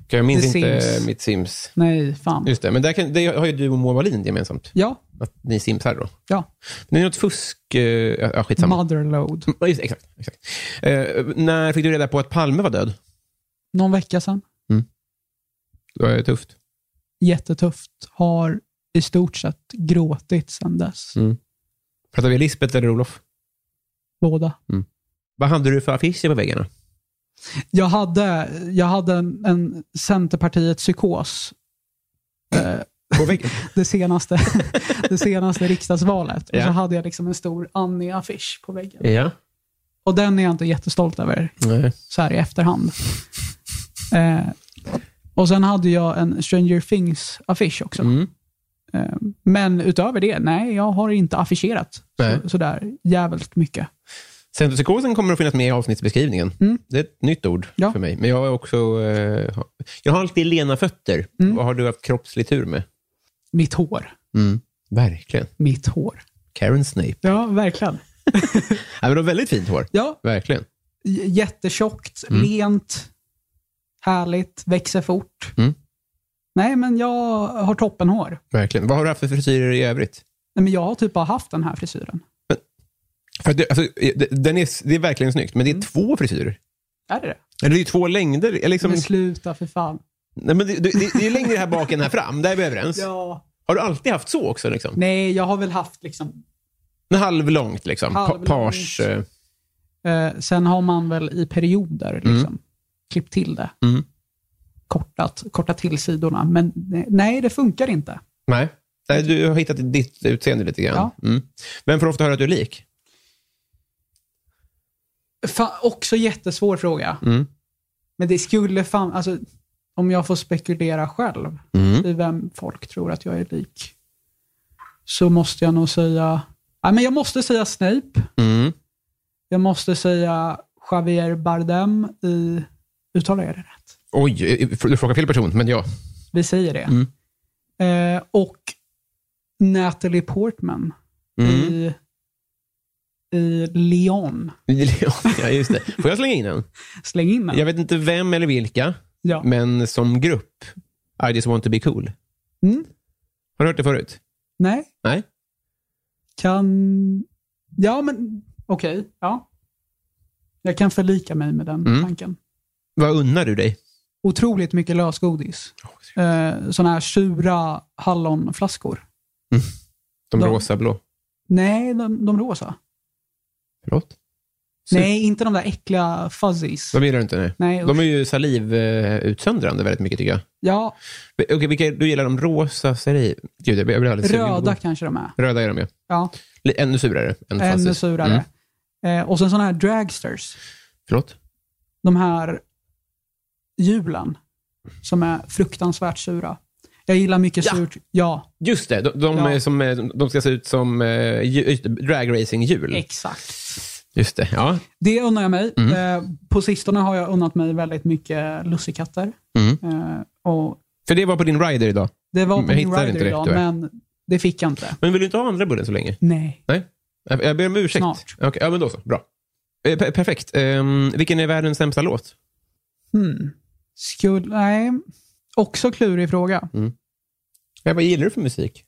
Jag minns The inte Sims. mitt Sims. Nej, fan. Just det, men där kan, det har ju du och Moa Wallin gemensamt. Ja, Att ni simsar då. ja. Det är något fusk... eh, Ja, skitsamma. Motherload. Ja, Just, det, exakt. exakt. Eh, när fick du reda på att Palme var död? Någon vecka sedan. Det var ju tufft. Jättetufft. Har i stort sett gråtit sedan dess. Pratar vi Lisbeth eller Olof? Båda. Vad hade du för affischer på väggarna? Jag hade, jag hade en, en Centerpartiet-psykos På väggen? det senaste, <laughs> det senaste riksdagsvalet. Ja. Och så hade jag liksom en stor Annie-affisch på <laughs> väggen. ja. Och den är jag inte jättestolt över Nej. så här i efterhand. Eh, och sen hade jag en Stranger Things-affisch också. Mm. Eh, men utöver det, nej, jag har inte affischerat Nej. så, sådär jävligt mycket. Centropsykosen kommer att finnas med i avsnittsbeskrivningen. Mm. Det är ett nytt ord Ja. för mig. Men jag är också... Eh, ha- jag har alltid lena fötter. Vad har du haft kroppslig tur med? Mitt hår. Verkligen. Mitt hår. Karen Snape. Ja, verkligen. Ja, men du har väldigt fint hår. Ja, Verkligen. j- jättetjockt, Mm. lent, härligt, växer fort. Mm. Nej, men jag har toppenhår. Verkligen. Vad har du haft för frisyrer i övrigt? Nej, men jag har typ bara haft den här frisyren. För att det, alltså, det- den är, det är verkligen snyggt, men det är två frisyrer. Är det det? Eller det är två längder. Eller liksom, Men sluta för fan. nej, men det, det, det är längre här bak än här fram. Där är vi överens. <laughs> Ja. Har du alltid haft så också? Liksom? Nej, jag har väl haft liksom Men Halvlångt liksom? Pa- Halvlångt. Page, eh, Eh, sen har man väl i perioder liksom, klippt till det. Mm. Kortat, kortat till sidorna. Men ne- nej, det funkar inte. nej. nej. Du har hittat ditt utseende lite grann. Mm. Vem får ofta höra att du är lik? Fan, också jättesvår fråga. Mm. Men det skulle fan, alltså, om jag får spekulera själv Mm. i vem folk tror att jag är lik. så måste jag nog säga... Nej, men jag måste säga Snape. Mm. Jag måste säga Javier Bardem i... Uttalar jag det rätt? Oj, eh, du frågar fel person, men ja. <laughs> Vi säger det. Mm. Eh, och Natalie Portman Mm. i, i Leon. ja, just det. Får jag slänga in en? Släng in den. Jag vet inte vem eller vilka, Ja. men som grupp, I just want to be cool. Mm. Har du hört det förut? Nej, Nej? kan... Ja, men okej. ja. Jag kan förlika mig med den Mm. tanken. Vad unnar du dig? Otroligt mycket lösgodis. Eh, Sådana här sura hallonflaskor. De De- rosa blå. Nej, de, de rosa. Förlåt? Sur- Nej, inte de där äckliga fuzzies. De gillar du inte? Nej. Nej, De usch. är ju salivutsöndrande väldigt mycket tycker jag. Ja, Men, Okej, vilka, du gillar de rosa, säger du? Gud, jag blir alldeles sugen på- röda kanske de är. Röda är de ju. Ja, Li- Ännu surare. Än ännu fuzzies. surare. Mm. Eh, och sen sådana här dragsters. Förlåt? De här hjulen som är fruktansvärt sura. Jag gillar mycket Ja. surt. Ja, Just det, de, de, Ja. är som, eh, de ska se ut som eh, ju- just det, dragracing-hjul. exakt. Just det, ja. Det unnar jag mig. Mm. Eh, på sistone har jag unnat mig väldigt mycket lussekatter. Mm. Eh, och För det var på din rider idag. det var på Men Mm, jag min hittar rider inte det, idag, tyvärr. men det fick jag inte. Men vill du inte ha andra bullen så länge? Nej. Nej? Jag jag ber om ursäkt. Snart. Okej, ja, men då så. Bra. Eh, pe- perfekt. Ehm, vilken är världens sämsta låt? Hmm. Skulle, nej. Också klurig fråga. Ja, vad gillar du för musik?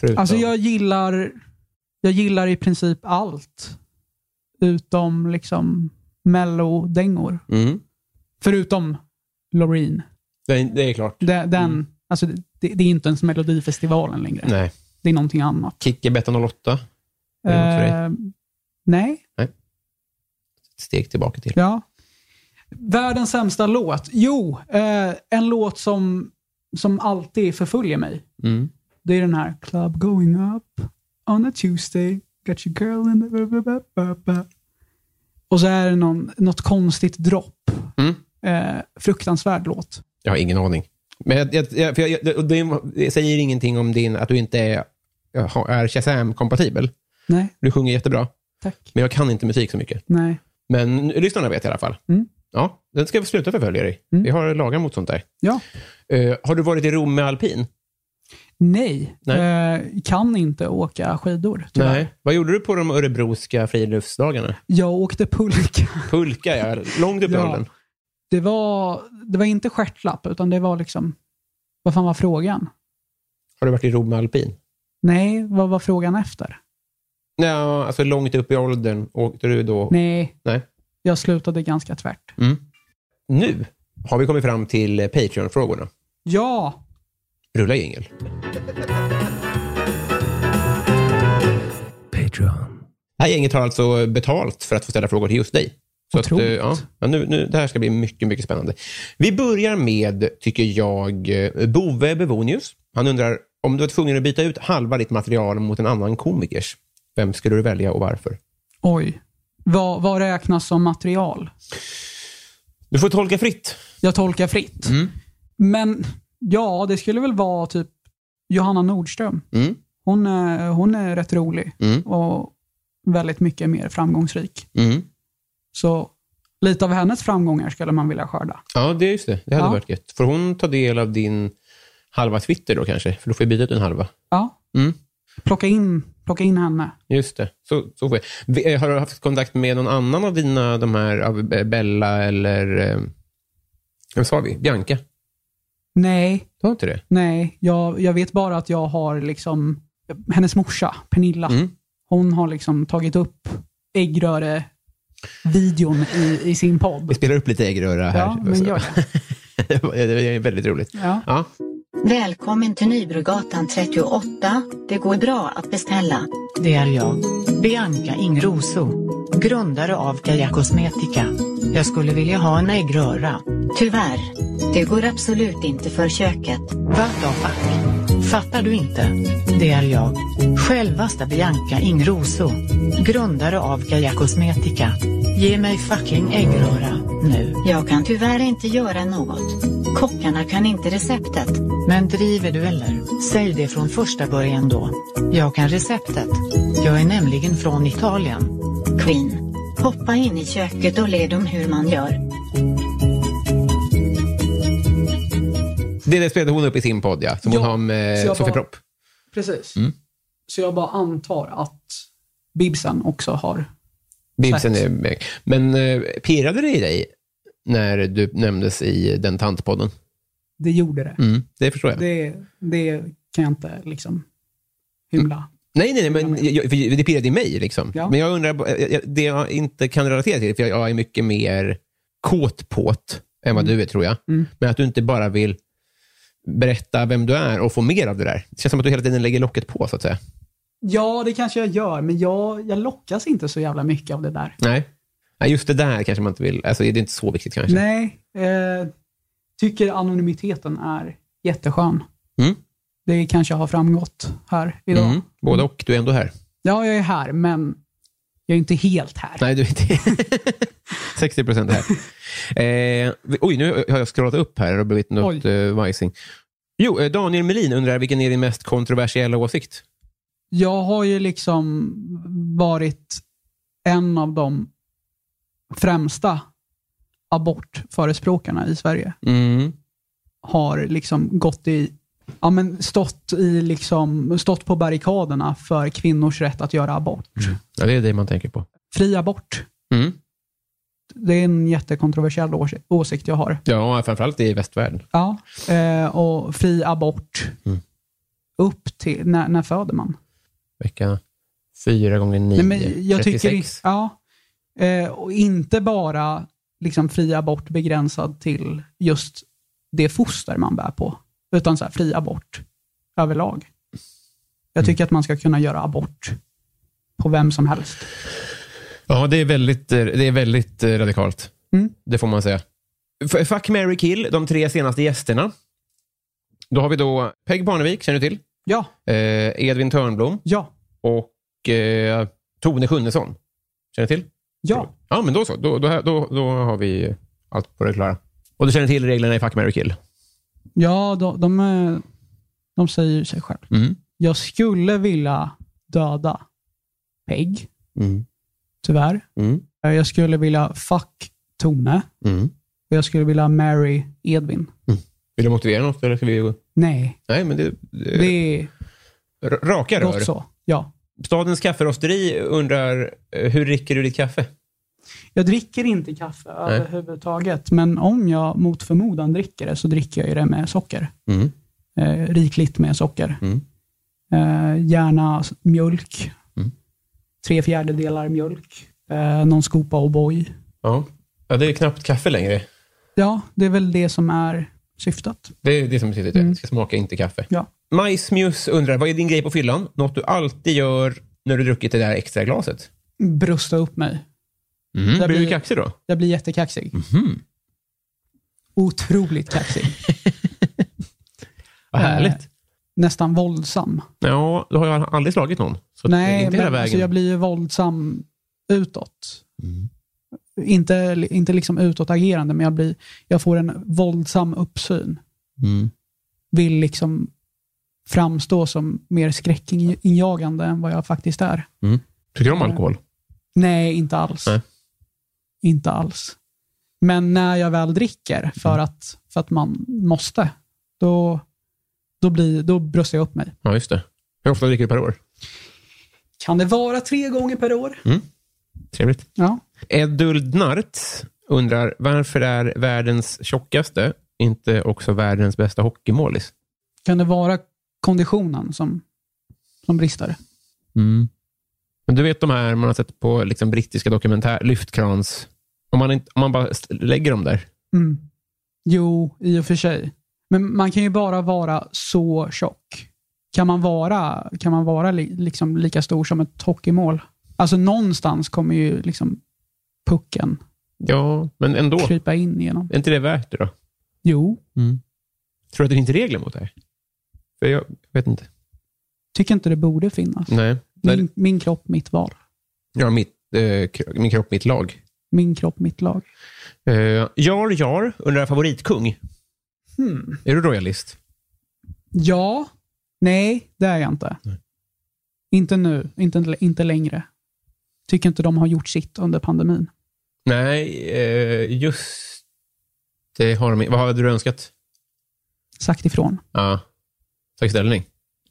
Förutom... Alltså jag gillar, jag gillar i princip allt. Utom liksom mellodängor. Mm. Förutom Loreen. Det, är- det är klart. Den, den, alltså, det, det är inte ens Melodifestivalen längre. Nej. Det är någonting annat. Kicke Betta 08. Är det något för dig? Eh, nej. Ett steg tillbaka till. Ja. Världens sämsta låt. Jo, eh, en låt som, som alltid förföljer mig. Mm. Det är den här Club going up on a Tuesday. Got your girl in the... Och så är det någon, något konstigt dropp. Mm. Eh, fruktansvärd låt. Jag har ingen aning. Men jag, jag, jag, för jag, jag, och det, det säger ingenting om din, att du inte är, har- är Shazam-kompatibel. Nej, Du sjunger jättebra, tack. men jag kan inte musik så mycket. Nej. Men nu- lyssnarna vet i alla fall. Mm. Ja, den ska vi sluta förfölja dig. Vi har lagar mot sånt där. Ja. Eh, har du varit i Rom med alpin? Nej. Nej. Eh, kan inte åka skidor. tyvärr. Vad gjorde du på de örebroska friluftsdagarna? Jag åkte pulka. Pulka, ja. Långt upp i Ja. åldern. Det var, det var inte stjärtlapp, utan det var liksom... Vad fan var frågan? Har du varit i Rom med alpin? Nej, vad var frågan efter? Ja, alltså långt upp i åldern åkte du då? Nej, Nej. jag slutade ganska tvärt. Nu har vi kommit fram till Patreon-frågorna. Ja, Rulla jingel. Patreon. Det här gänget har alltså betalt för att få ställa frågor till just dig. Så att, eh, Otroligt. ja, ja, nu, nu, det här ska bli mycket, mycket spännande. Vi börjar med, tycker jag, eh, Bove Bevonius. Han undrar, om du var tvungen att byta ut halva ditt material mot en annan komikers, vem skulle du välja och varför? oj. Vad, vad räknas som material? Du får tolka fritt. Jag tolkar fritt. Mm. Men ja, det skulle väl vara typ Johanna Nordström. Mm. Hon är, hon är rätt rolig Mm. och väldigt mycket mer framgångsrik. Så lite av hennes framgångar skulle man vilja skörda. Ja, det är just det. Det hade Ja. varit gött. Får hon ta del av din halva Twitter då kanske? För då får vi byta ut en halva. Ja, Mm. plocka, in, plocka in henne. Just det. Så, så får jag. Vi- eh, Har du haft kontakt med någon annan av dina, de här, av eh, Bella eller... eh, Vem sa vi? Bianca? Nej, Du har inte det? Nej, jag, jag vet bara att jag har liksom, hennes morsa, Pernilla, Mm. hon har liksom tagit upp äggröre-videon i, i sin Vi podd. spelar upp lite äggröra här. Ja, <laughs> men gör det. det. det är väldigt roligt. Ja. Ja. Välkommen till Nybrogatan 38. Det går bra att beställa. Det är jag, Bianca Ingrosso, grundare av Kaja Cosmetica. Jag skulle vilja ha en äggröra. Tyvärr, det går absolut inte för köket. What the fuck? Fattar du inte? Det är jag, självaste Bianca Ingrosso, grundare av Kaja Cosmetica. Ge mig fucking äggröra. nu. Jag kan tyvärr inte göra något. Kockarna kan inte receptet. Men driver du eller? Säg det från första början då. Jag kan receptet. Jag är nämligen från Italien. Queen. Hoppa in i köket och led dem hur man gör. Det där spelade hon upp i sin podd, ja. Som hon Ja, har med så eh, jag Sofie bara- Propp. Precis. Mm. Så jag bara antar att Bibsen också har... Bibsen Tack. är med. Men eh, pirrade det i dig när du nämndes i den tantpodden? Det gjorde det. Mm, det förstår jag. Det, det kan jag inte liksom hymla. Nej, nej, nej, men jag, för det pirrade i mig. Liksom. Ja. Men jag undrar, bara- jag- jag- det jag inte kan relatera till, för jag- jag är mycket mer kåt på't än vad du är, tror jag. Mm. Men att du inte bara vill berätta vem du är och få mer av det där. Det känns som att du hela tiden lägger locket på, så att säga. Ja, det kanske jag gör, men jag, jag lockas inte så jävla mycket av det där. Nej, nej just det där kanske man inte vill. Alltså, det är inte så viktigt kanske. Nej, eh, tycker anonymiteten är jätteskön. Mm. Det kanske har framgått här idag. Mm. Både och, du är ändå här. Ja, jag är här, men jag är inte helt här. Nej, du är inte <laughs> 60 procent här. Eh, vi- oj, nu har jag scrollat upp här och blivit något Oj. eh, vajsing. Jo, eh, Daniel Melin undrar vilken är din mest kontroversiella åsikt? Jag har ju liksom varit en av de främsta abortförespråkarna i Sverige. Mm. Har liksom gått i, ja men stått, i liksom, stått på barrikaderna för kvinnors rätt att göra abort. Ja, det är det man tänker på. Fri abort. Mm. Det är en jättekontroversiell ås- åsikt jag har. Ja, framförallt i västvärlden. Ja, eh, och fri abort upp till, när, när föder man? Vecka fyra gånger nio, Nej, men jag 36. tycker, ja, eh, och inte bara liksom fri abort begränsad till just det foster man bär på, utan så här, fri abort överlag. Jag tycker att man ska kunna göra abort på vem som helst. Ja, det är väldigt, eh, det är väldigt eh, radikalt. Mm. Det får man säga. F- Fuck, Mary kill, de tre senaste gästerna. Då har vi då Peg Barnevik, känner du till? Ja, Eh, Edvin Törnblom. ja, och eh, Tone Schunnesson. Känner du till? ja. Ja, men då så. Då, då, då, då har vi allt på det klara. Och du känner till reglerna i Fuck, marry, kill? Ja, de, de, eh, de säger ju sig själv. Mm. Jag skulle vilja döda Peg, Mm. tyvärr. Eh, Mm. Jag skulle vilja fuck Tone Mm. och jag skulle vilja marry Edvin. Vill du motivera något? Eller ska vi... gå- Nej, Nej, men det, det, det är r- raka rör. gott så. Ja. Stadens kafferosteri undrar, eh, hur dricker du ditt kaffe? Jag dricker inte kaffe överhuvudtaget, men om jag mot förmodan dricker det så dricker jag ju det med socker. Mm. Eh, rikligt med socker. Mm. Eh, gärna s- mjölk. Mm. Tre fjärdedelar mjölk. Eh, någon skopa O'boy. Ja. ja, det är knappt kaffe längre. Ja, det är väl det som är syftet. Det är det som betyder det. Det ska smaka, inte kaffe. Ja. Majsmjus undrar, vad är din grej på fyllan? Något du alltid gör när du druckit det där extra glaset? Brusta upp mig. Mm. Det Blir du blir- kaxig då? Jag blir jättekaxig. Mhm. Otroligt kaxig. Vad Eh, härligt. Nästan våldsam. Ja, då har jag aldrig slagit någon. Så det är Nej, inte hela men alltså vägen. Mm. jag blir ju våldsam utåt. Inte, inte liksom utåtagerande, men jag, blir, jag får en våldsam uppsyn. Mm. Vill liksom framstå som mer skräckinjagande än vad jag faktiskt är. Tycker du om alkohol? Nej, inte alls. Nej. Inte alls. Men när jag väl dricker, för, att, för att man måste, då, då, blir, då bröstar jag upp mig. Ja, just det. Hur ofta dricker du per år? Kan det vara tre gånger per år? Trevligt. Mm. Ja. Eduld Nart undrar, varför är världens tjockaste inte också världens bästa hockeymålis? Kan det vara konditionen som, som brister? Mm. Men du vet de här man har sett på liksom, brittiska dokumentär, lyftkrans. Om man, inte, om man bara st- lägger dem där. Mm. Jo, i och för sig. Men man kan ju bara vara så tjock. Kan man vara, kan man vara li, liksom lika stor som ett hockeymål? Alltså någonstans kommer ju liksom pucken Ja, men ändå. krypa in genom. Är inte det värt det då? Jo, Tror du att det finns regler mot det här? För jag vet inte. tycker inte det borde finnas. Nej. Mm. Nej. Min, min kropp, mitt val. Ja, mitt, eh, kro- min kropp, mitt lag. Min kropp, mitt lag. Eh, Jar Jar undrar favoritkung. Hmm. Är du royalist? Ja. Nej, det är jag inte. Inte nu. Inte, inte längre. Tycker inte de har gjort sitt under pandemin. Nej, eh, just det har de Vad hade du önskat? Sagt ifrån. Ja. Tagit ställning.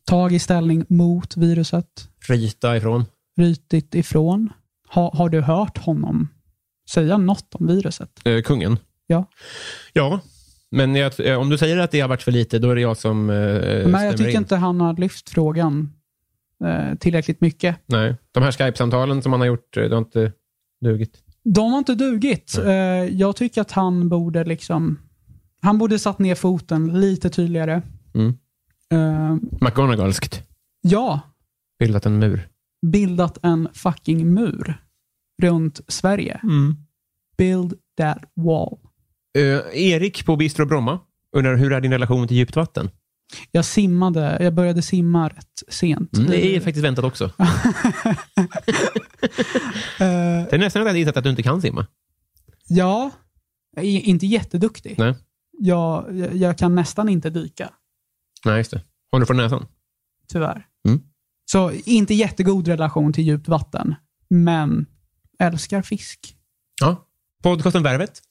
Tag i ställning mot viruset. Rita ifrån. Rytigt ifrån. Ha, har du hört honom säga något om viruset? Eh, kungen? Ja. Ja, men jag, eh, om du säger att det har varit för lite, då är det jag som eh, Men stämmer jag tycker in. inte han har lyft frågan eh, tillräckligt mycket. Nej, de här Skype-samtalen som han har gjort, eh, det har inte dugit. De har inte dugit. Eh, Jag tycker att han borde liksom... Han borde satt ner foten lite tydligare. Mm. Eh, McGonagallskt. Ja, Bildat en mur. bildat en fucking mur runt Sverige. Build that wall. Eh, Erik på Bistro Bromma undrar hur är din relation till djupt vatten? Jag simmade, jag började simma rätt sent. Det är faktiskt väntat också. Eh, Det är nästan att jag hade gissat att du inte kan simma. ja, jag är inte jätteduktig. Nej. Jag, jag- jag kan nästan inte dyka, Nej, just det. Har du från näsan? tyvärr. Mm. Så inte jättegod relation till djupt vatten, men älskar fisk. Ja. Podcasten Värvet.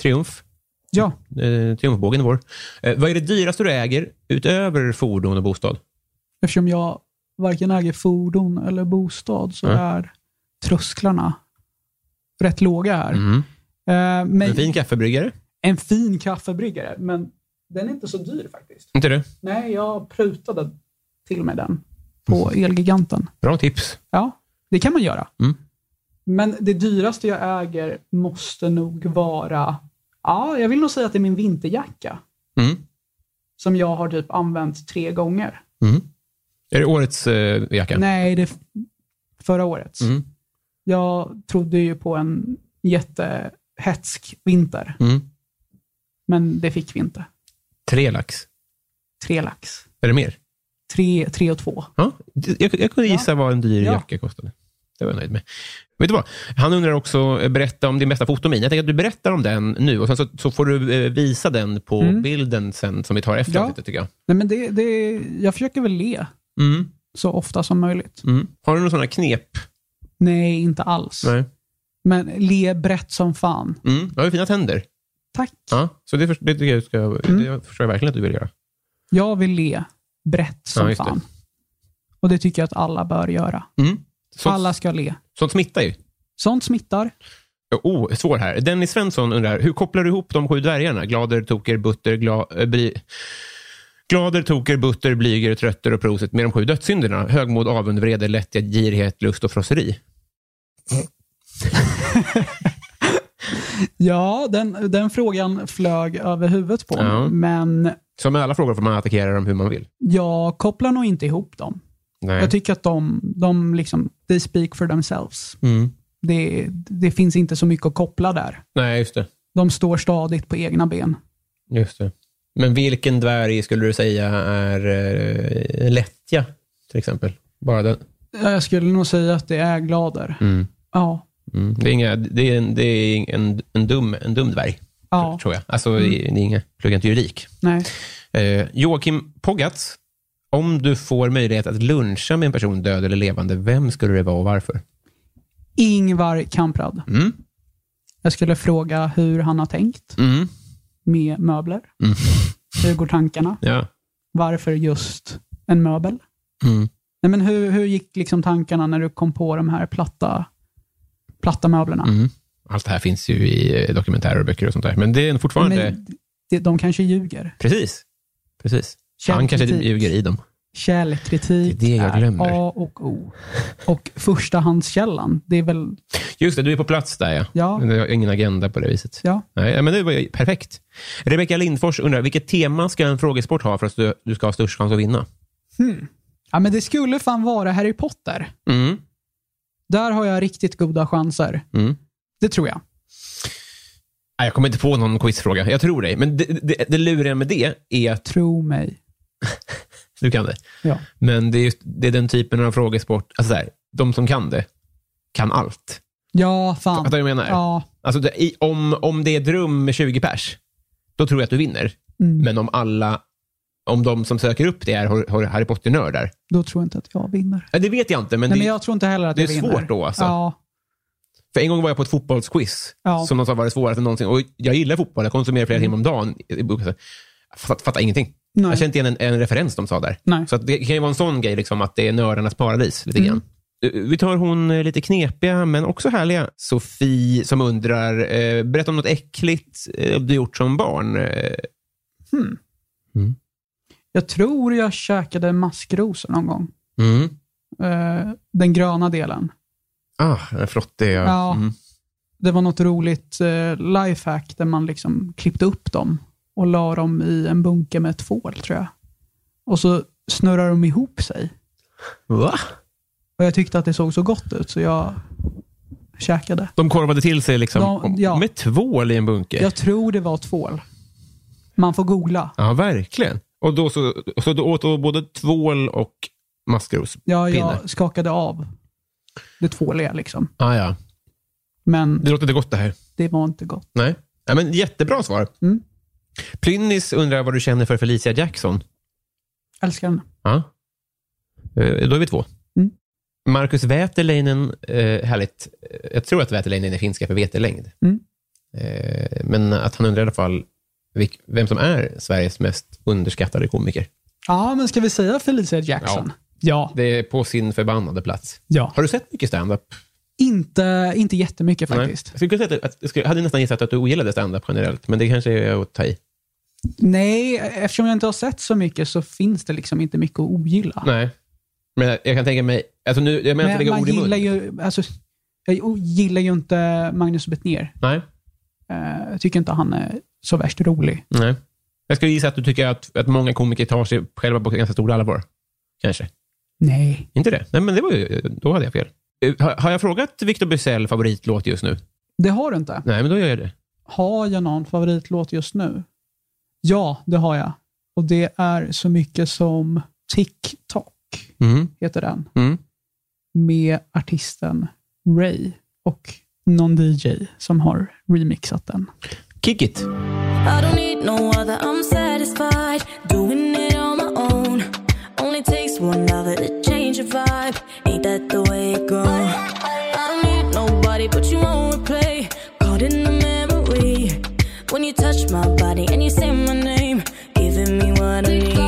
Triumf. Ja, Eh, triumfbågen är vår. Eh, vad är det dyraste du äger utöver fordon och bostad? eftersom jag varken äger fordon eller bostad så Mm. är trösklarna rätt låga här. Eh, men En fin kaffebryggare. en fin kaffebryggare, men den är inte så dyr faktiskt. Inte det? Nej, jag prutade till med den på Elgiganten. Bra tips. Ja, det kan man göra. Mm. Men det dyraste jag äger måste nog vara, ja, jag vill nog säga att det är min vinterjacka Mm. som jag har typ använt tre gånger. Är det årets eh, jacka? Nej, det är f- förra årets. Mm. Jag trodde ju på en jättehetsk vinter, Mm. men det fick vi inte. Tre lax. Tre lax. Är det mer? Tre, tre och två. Ja, jag, jag kunde gissa vad en dyr Ja. jacka kostade. Det var jag nöjd med. Vet du vad? Han undrar också, eh, berätta om din bästa fotomin. Jag tänker att du berättar om den nu och sen så, så får du eh, visa den på Mm. bilden sen som vi tar efter Ja. lite, tycker jag. Nej, men det, det, jag försöker väl le Mm. så ofta som möjligt. Mm. Har du några sådana knep? Nej, inte alls. Nej. Men le brett som fan. Mm. Du har ju fina tänder. Tack. Ja. Så det, för, det, tycker jag du ska, Mm. det förstår jag verkligen att du vill göra. Jag vill le brett som Ja, just det. fan. Och det tycker jag att alla bör göra. Mm. Sånt, Alla ska le. sånt smittar ju. Sånt smittar. Oh, svår här. Dennis Svensson undrar, hur kopplar du ihop de sju dvärgarna? Glader, Toker, Butter, gla, eh, bli, Glader, Toker, Butter, Blyger, Trötter och Proset med de sju dödssynderna? Högmod, avund, vrede, lättja, girighet, lust och frosseri. Ja, den, den frågan flög över huvudet på mig. Ja. Men Som med alla frågor får man attackera dem hur man vill. jag kopplar nog inte ihop dem. Nej. Jag tycker att de, de liksom, they speak for themselves. Mm. Det, det finns inte så mycket att koppla där. Nej, just det. De står stadigt på egna ben. just det. Men vilken dvärg skulle du säga är eh, lättja, till exempel? Bara den. Ja, Jag skulle nog säga att det är glader. Mm. Ja, Mm. Det är, inga, det är, en, det är en, en, dum, en dum dvärg, ja, tror jag. Alltså, det är inga, plugga inte juridik. nej. Eh, Joakim Poggatz, om du får möjlighet att luncha med en person död eller levande, vem skulle det vara och varför? Ingvar Kamprad. Mm. Jag skulle fråga hur han har tänkt Mm. med möbler. Mm. Hur går tankarna? Ja. Varför just en möbel? Mm. Nej, men hur, hur gick liksom tankarna när du kom på de här platta, platta möblerna? Mm. Allt det här finns ju i eh, dokumentärer och böcker och sånt där, men det är fortfarande... Men de, de kanske ljuger. Precis. Precis. Han kanske Källkritik. ljuger i dem. Källkritik Det är det jag glömmer. A och O. Och förstahandskällan, det är väl... Just det, du är på plats där ja. Ja. Men jag har ingen agenda på det viset. Ja. Nej, men det var ju perfekt. Rebecka Lindfors undrar, vilket tema ska en frågesport ha för att du- du ska ha störst chans att vinna? Ja, men det skulle fan vara Harry Potter. Mm. Där har jag riktigt goda chanser. Mm. Det tror jag. Nej, jag kommer inte på någon quizfråga. Jag tror dig. Men det, det, det luriga med det är att Tro mig. du kan det. Ja. Men det är, just, det är den typen av frågesport. Alltså så här, de som kan det, kan allt. Ja, fan. Fattar du vad jag menar? Ja. Alltså, det- i, om, om det är ett rum med 20 pers, då tror jag att du vinner. Men om alla, om de som söker upp det är har- har Harry Potter-nördar, Då tror jag inte att jag vinner. ja, det vet jag inte. Men, Nej, det, men jag tror inte heller att det jag är vinner. svårt då, alltså. Ja. För en gång var jag på ett fotbollsquiz Ja. som de sa var det svåraste någonsin. Och jag gillar fotboll, jag konsumerar flera timmar om dagen. Jag fatt- fattar ingenting. Nej. Jag känner inte igen en, en referens de sa där. Nej. Så att det kan ju vara en sån grej, liksom, att det är nördarnas paradis. lite grann. Eh, Vi tar hon eh, lite knepiga, men också härliga. Sofie som undrar, eh, berätta om något äckligt eh, du gjort som barn. Eh, Jag tror jag käkade maskrosor någon gång. mm. Eh, den gröna delen. Ah, den är flottig. Ja. Ja. Mm. Det var något roligt eh, lifehack där man liksom klippte upp dem och la dem i en bunke med tvål, tror jag. Och så snurrar de ihop sig. Va? Och jag tyckte att det såg så gott ut, så jag käkade. De korvade till sig liksom, De- ja. med tvål i en bunke. Jag tror det var tvål. Man får googla. Ja, verkligen. Och då så, så du åt då både tvål och maskrospinne? Ja, jag skakade av det tvåliga liksom. Ah, ja. Men Det låter inte gott det här. det var inte gott. Nej. Ja, men jättebra svar. Mm. Plynnis undrar vad du känner för Felicia Jackson. Älskar den. Ja. Eh, Då är vi två. Mm. Marcus Väterleinen, eh, härligt. Eh, Jag tror att Väterleinen är finska för vetelängd. Mm. Eh, Men att han undrar i alla fall vilk- vem som är Sveriges mest underskattade komiker. Ja, men ska vi säga Felicia Jackson? Ja. Det är på sin förbannade plats. ja. Har du sett mycket stand-up? Inte, inte jättemycket Nej. faktiskt. Jag, skulle kunna säga att, att, jag skulle- hade nästan gissat att du ogillade stand-up generellt, men det kanske är att ta i. Nej. eftersom jag inte har sett så mycket så finns det liksom inte mycket att ogilla. Nej. Men jag, jag kan tänka mig... Alltså nu, jag menar inte Men lägga man ord i mun. gillar ju, alltså, jag gillar ju inte Magnus Betnér. Nej. Eh, Jag tycker inte han är så värst rolig. Nej. Jag skulle gissa att du tycker att, att många komiker tar sig själva på ganska stor allvar. Kanske. Nej. Inte det? Nej, men det var ju... Då hade jag fel. Eh, Har, har jag frågat Victor Bysell favoritlåt just nu? Det har du inte. Nej, men då gör jag det. Har jag någon favoritlåt just nu? Ja, det har jag. Och det är så mycket som TikTok, Mm. heter den, Mm. med artisten Ray och någon DJ som har remixat den. Kick it! I don't need no other, I'm satisfied doing it on my own. Only takes one other to change a vibe, ain't that the way it goes? I don't need nobody, but you won't replay. Caught in the memory when you touch my body and you say my name, giving me what I need.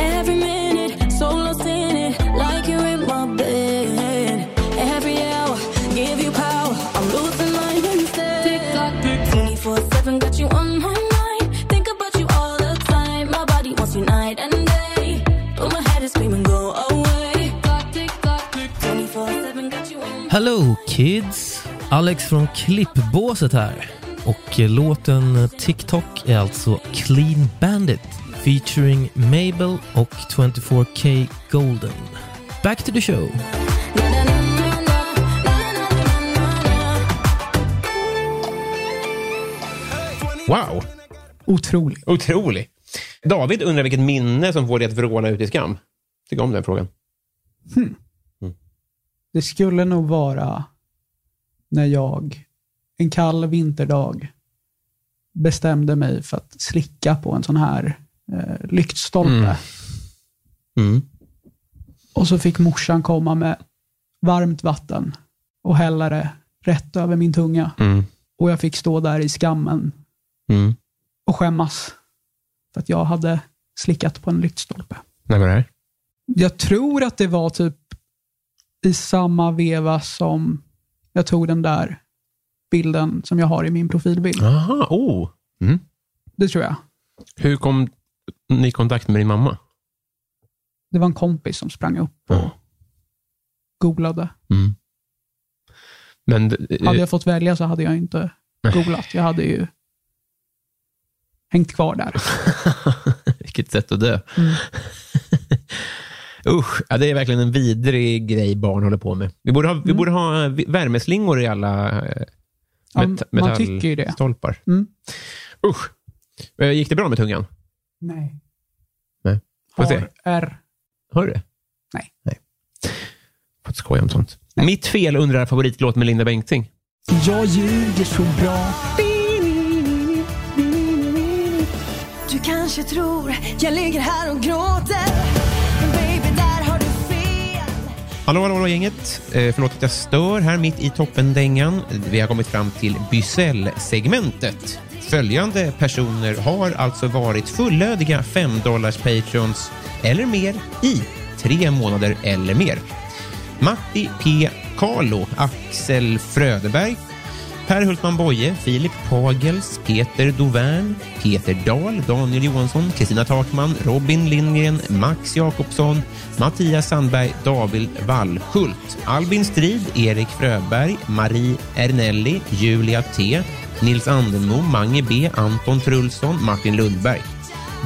Every minute, so lost in it, like you're in my bed. Every hour, give you power. I'm losing my instead. Tick tock, tick 24/7 got you on my mind. Think about you all the time. My body wants you night and day, but my head is screaming, go away. Tick tock, tick tock, tick 24/7 got you on. Hello kids! Alex från Klippbåset här. Och eh, låten TikTok är alltså Clean Bandit featuring Mabel och 24K Golden. Back to the show! Na, na, na, na, na, na, na, na, na, na. Wow! Otrolig. Otrolig. David undrar vilket minne som får dig att vråla ut i skam. Tycker om den frågan. Det skulle nog vara när jag en kall vinterdag bestämde mig för att slicka på en sån här eh, lyktstolpe. Mm. Mm. Och så fick morsan komma med varmt vatten och hälla det rätt över min tunga. Mm. Och jag fick stå där i skammen Mm. och skämmas för att jag hade slickat på en lyktstolpe. Nej, men det här. Jag tror att det var typ i samma veva som jag tog den där bilden som jag har i min profilbild. Aha, oh. Mm. Det tror jag. Hur kom ni i kontakt med din mamma? Det var en kompis som sprang upp och googlade. Men, eh, Hade jag fått välja så hade jag inte googlat. Jag hade ju hängt kvar där. Vilket sätt att dö. Mm. <laughs> Usch, ja, det är verkligen en vidrig grej barn håller på med. Vi borde ha, Mm. vi borde ha eh, värmeslingor i alla eh, Ja, met- man tycker ju det. metallstolpar. Mm. Usch. Eh, Gick det bra med tungan? Nej. Nej. Får se. Har R. Har du det? Nej. Nej. Får inte skoja om sånt. Mitt fel undrar favoritlåt med Linda Bengtzing. Jag ljuger så bra. Du kanske tror jag ligger här och gråter Men baby, där har du fel Hallå, hallå, hallå gänget. Eh, förlåt att jag stör här mitt i toppendängan. Vi har kommit fram till Bysell-segmentet. Följande personer har alltså varit fullödiga 5 dollars patrons eller mer i tre månader eller mer. Matti P. Carlo, Axel Fröderberg, Per Hultman Boye, Filip Pagels, Peter Dovern, Peter Dahl, Daniel Johansson, Kristina Takman, Robin Lindgren, Max Jakobsson, Mattias Sandberg, David Wallhult, Albin Strid, Erik Fröberg, Marie Ernelli, Julia T, Nils Andenmo, Mange B, Anton Trulsson, Martin Lundberg.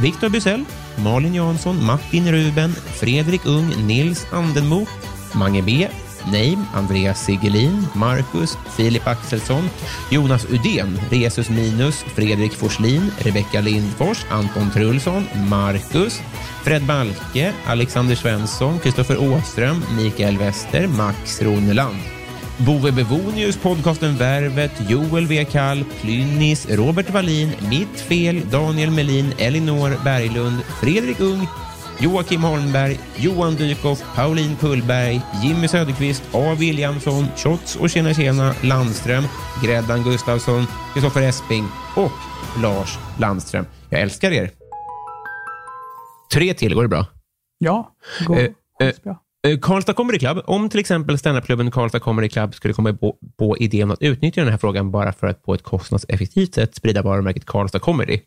Viktor Bysell, Malin Jansson, Martin Ruben, Fredrik Ung, Nils Andenmo, Mange B, Neim, Andreas Sigelin, Marcus, Filip Axelsson, Jonas Udén, Resus Minus, Fredrik Forslin, Rebecka Lindfors, Anton Trulsson, Marcus, Fred Balke, Alexander Svensson, Kristoffer Åström, Mikael Wester, Max Roneland. Bove Bevonius, podcasten Värvet, Joel W. Kall, Plynnis, Robert Wallin, Mitt Fel, Daniel Melin, Elinor Berglund, Fredrik Ung, Joakim Holmberg, Johan Dykhoff, Pauline Kullberg, Jimmy Söderqvist, A. Williamson, Shots och Tjena Tjena, Landström, Gräddan Gustafsson, Kristoffer Esping och Lars Landström. Jag älskar er. Tre till, går det bra? Ja, det går Eh, eh, bra. Eh, Karlstad Comedy Club, om till exempel standupklubben Karlstad Comedy Club skulle komma på, på idén att utnyttja den här frågan bara för att på ett kostnadseffektivt sätt sprida varumärket Karlstad Comedy.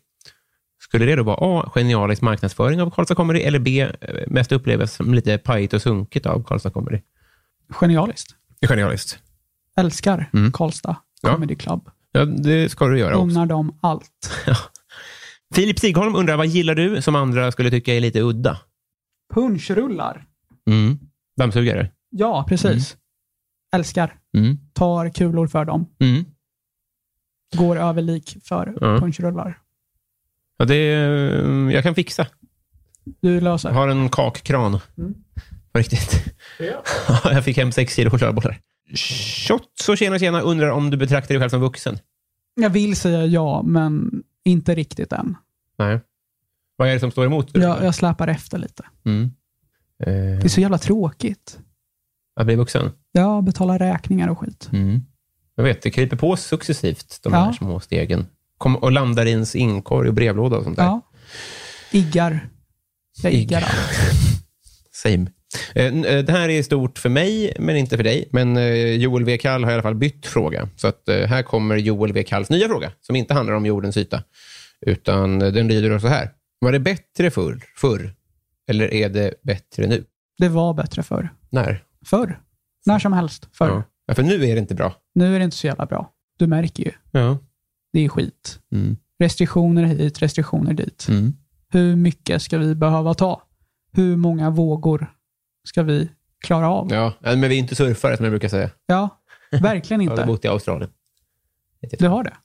Skulle det då vara A. Genialisk marknadsföring av Karlstad Comedy eller B. eh, Mest upplevas som lite pajigt och sunkigt av Karlstad Comedy? Genialiskt. Genialiskt. Älskar Karlstad Mm. Ja. Comedy Club. Ja, det ska du göra också. Unnar dem allt. Filip Sigholm undrar, vad gillar du som andra skulle tycka är lite udda? Punchrullar. Mm. Dammsugare? Ja, precis. Älskar. Mm. Tar kulor för dem. Mm. Går över lik för Ja. punchrullar. Ja, det, eh, jag kan fixa. Du Jag löser. har en kakkran. På riktigt. Ja. <laughs> jag fick hem sex kilo chokladbollar. Shots och tjena tjena undrar om du betraktar dig själv som vuxen? Jag vill säga ja, men inte riktigt än. Nej. Vad är det som står emot? dig? Jag, jag släpar efter lite. Mm. Eh, Det är så jävla tråkigt. att bli vuxen? Ja, betala räkningar och skit. Mm. Jag vet, det kryper på successivt, de här Ja. små stegen. Kom och landar i ens inkorg och brevlåda och sånt där. Ja. Iggar. Jag iggar Iggar. allt. Same. Eh, n- eh, Det här är stort för mig, men inte för dig. Men eh, Joel W. Kall har i alla fall bytt fråga. Så att eh, här kommer Joel W. Kalls nya fråga, som inte handlar om jordens yta. Utan eh, den lyder så här. Var det bättre förr? förr? Eller är det bättre nu? Det var bättre förr. När? Förr. När som helst. Förr. Ja. Ja, för nu är det inte bra. Nu är det inte så jävla bra. Du märker ju. Ja. Det är skit. Mm. Restriktioner hit, restriktioner dit. Mm. Hur mycket ska vi behöva ta? Hur många vågor ska vi klara av? Ja, ja. Men vi är inte surfare, som jag brukar säga. <laughs> verkligen Jag hade inte. bott i Australien. Du har det?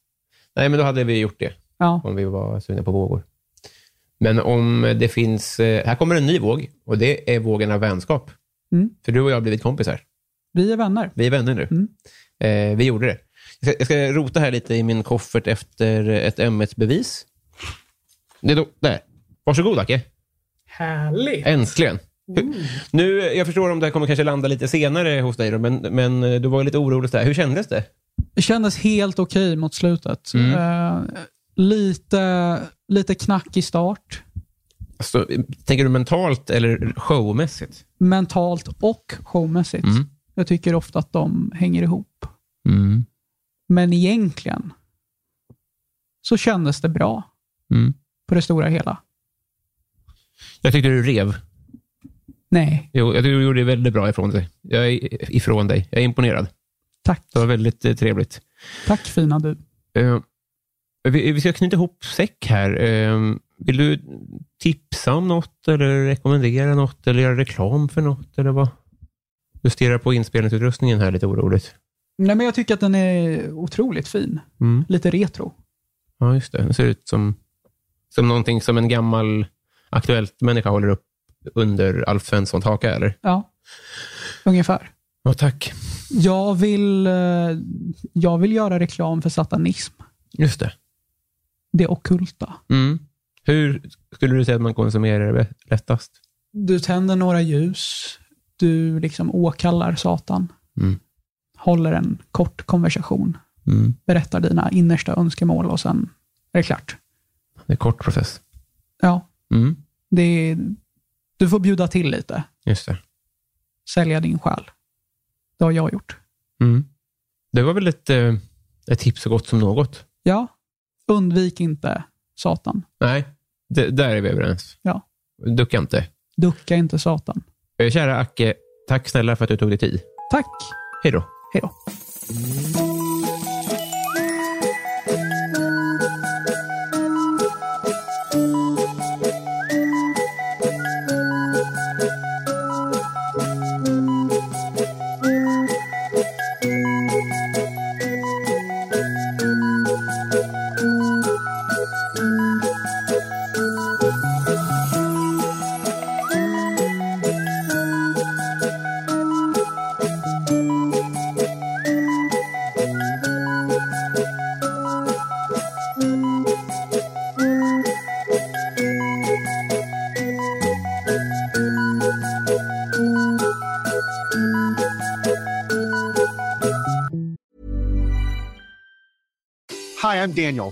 Nej, men då hade vi gjort det. Ja. om vi var sugna på vågor. Men om det finns... eh, Här kommer en ny våg och det är vågen av vänskap. Mm. För du och jag har blivit kompisar. Vi är vänner. Vi är vänner nu. Mm. Eh, vi gjorde det. Jag ska, jag ska rota här lite i min koffert efter ett ämnesbevis. Det är då, där. Varsågod, Acke. Härligt. Mm. Äntligen. Hur, nu, jag förstår om det här kommer kanske landa lite senare hos dig, då, men, men eh, du var ju lite orolig. Så här. Hur kändes det? Det kändes helt okej mot slutet. Mm. Eh, lite, lite knack i start. Alltså, tänker du mentalt eller showmässigt? Mentalt och showmässigt. Mm. Jag tycker ofta att de hänger ihop. Mm. Men egentligen så kändes det bra Mm. på det stora hela. Jag tyckte du rev. Nej, Jo, jag tycker du gjorde det väldigt bra ifrån dig. Jag är ifrån dig. Jag är imponerad. tack. Det var väldigt eh, trevligt. Tack fina du. Eh, vi, vi ska knyta ihop säck här. Eh, vill du tipsa om något eller rekommendera något eller göra reklam för något? Eller vad? Du stirrar på inspelningsutrustningen här lite oroligt. Nej, men jag tycker att den är otroligt fin. Mm. Lite retro. Ja, just det. Den ser ut som, som någonting som en gammal Aktuellt-människa håller upp under Alf Svensson haka, eller? Ja, ungefär. Ja, tack. Jag vill, eh, jag vill göra reklam för satanism. Just det. Det ockulta. Hur skulle du säga att man konsumerar det lättast? Du tänder några ljus. Du liksom åkallar Satan. Mm. Håller en kort konversation. Berättar dina innersta önskemål och sen är det klart. Det är en kort process. Ja, det är, du får bjuda till lite. Just det. Sälja din själ. Det har jag gjort. Det var väl ett, eh, ett tips så gott som något. Ja, undvik inte Satan. Nej, det, där är vi överens. Ja. Ducka inte. Ducka inte Satan. Eh, Kära Acke, tack snälla för att du tog dig tid. Tack. Hej då. Hej då. Hi, I'm Daniel,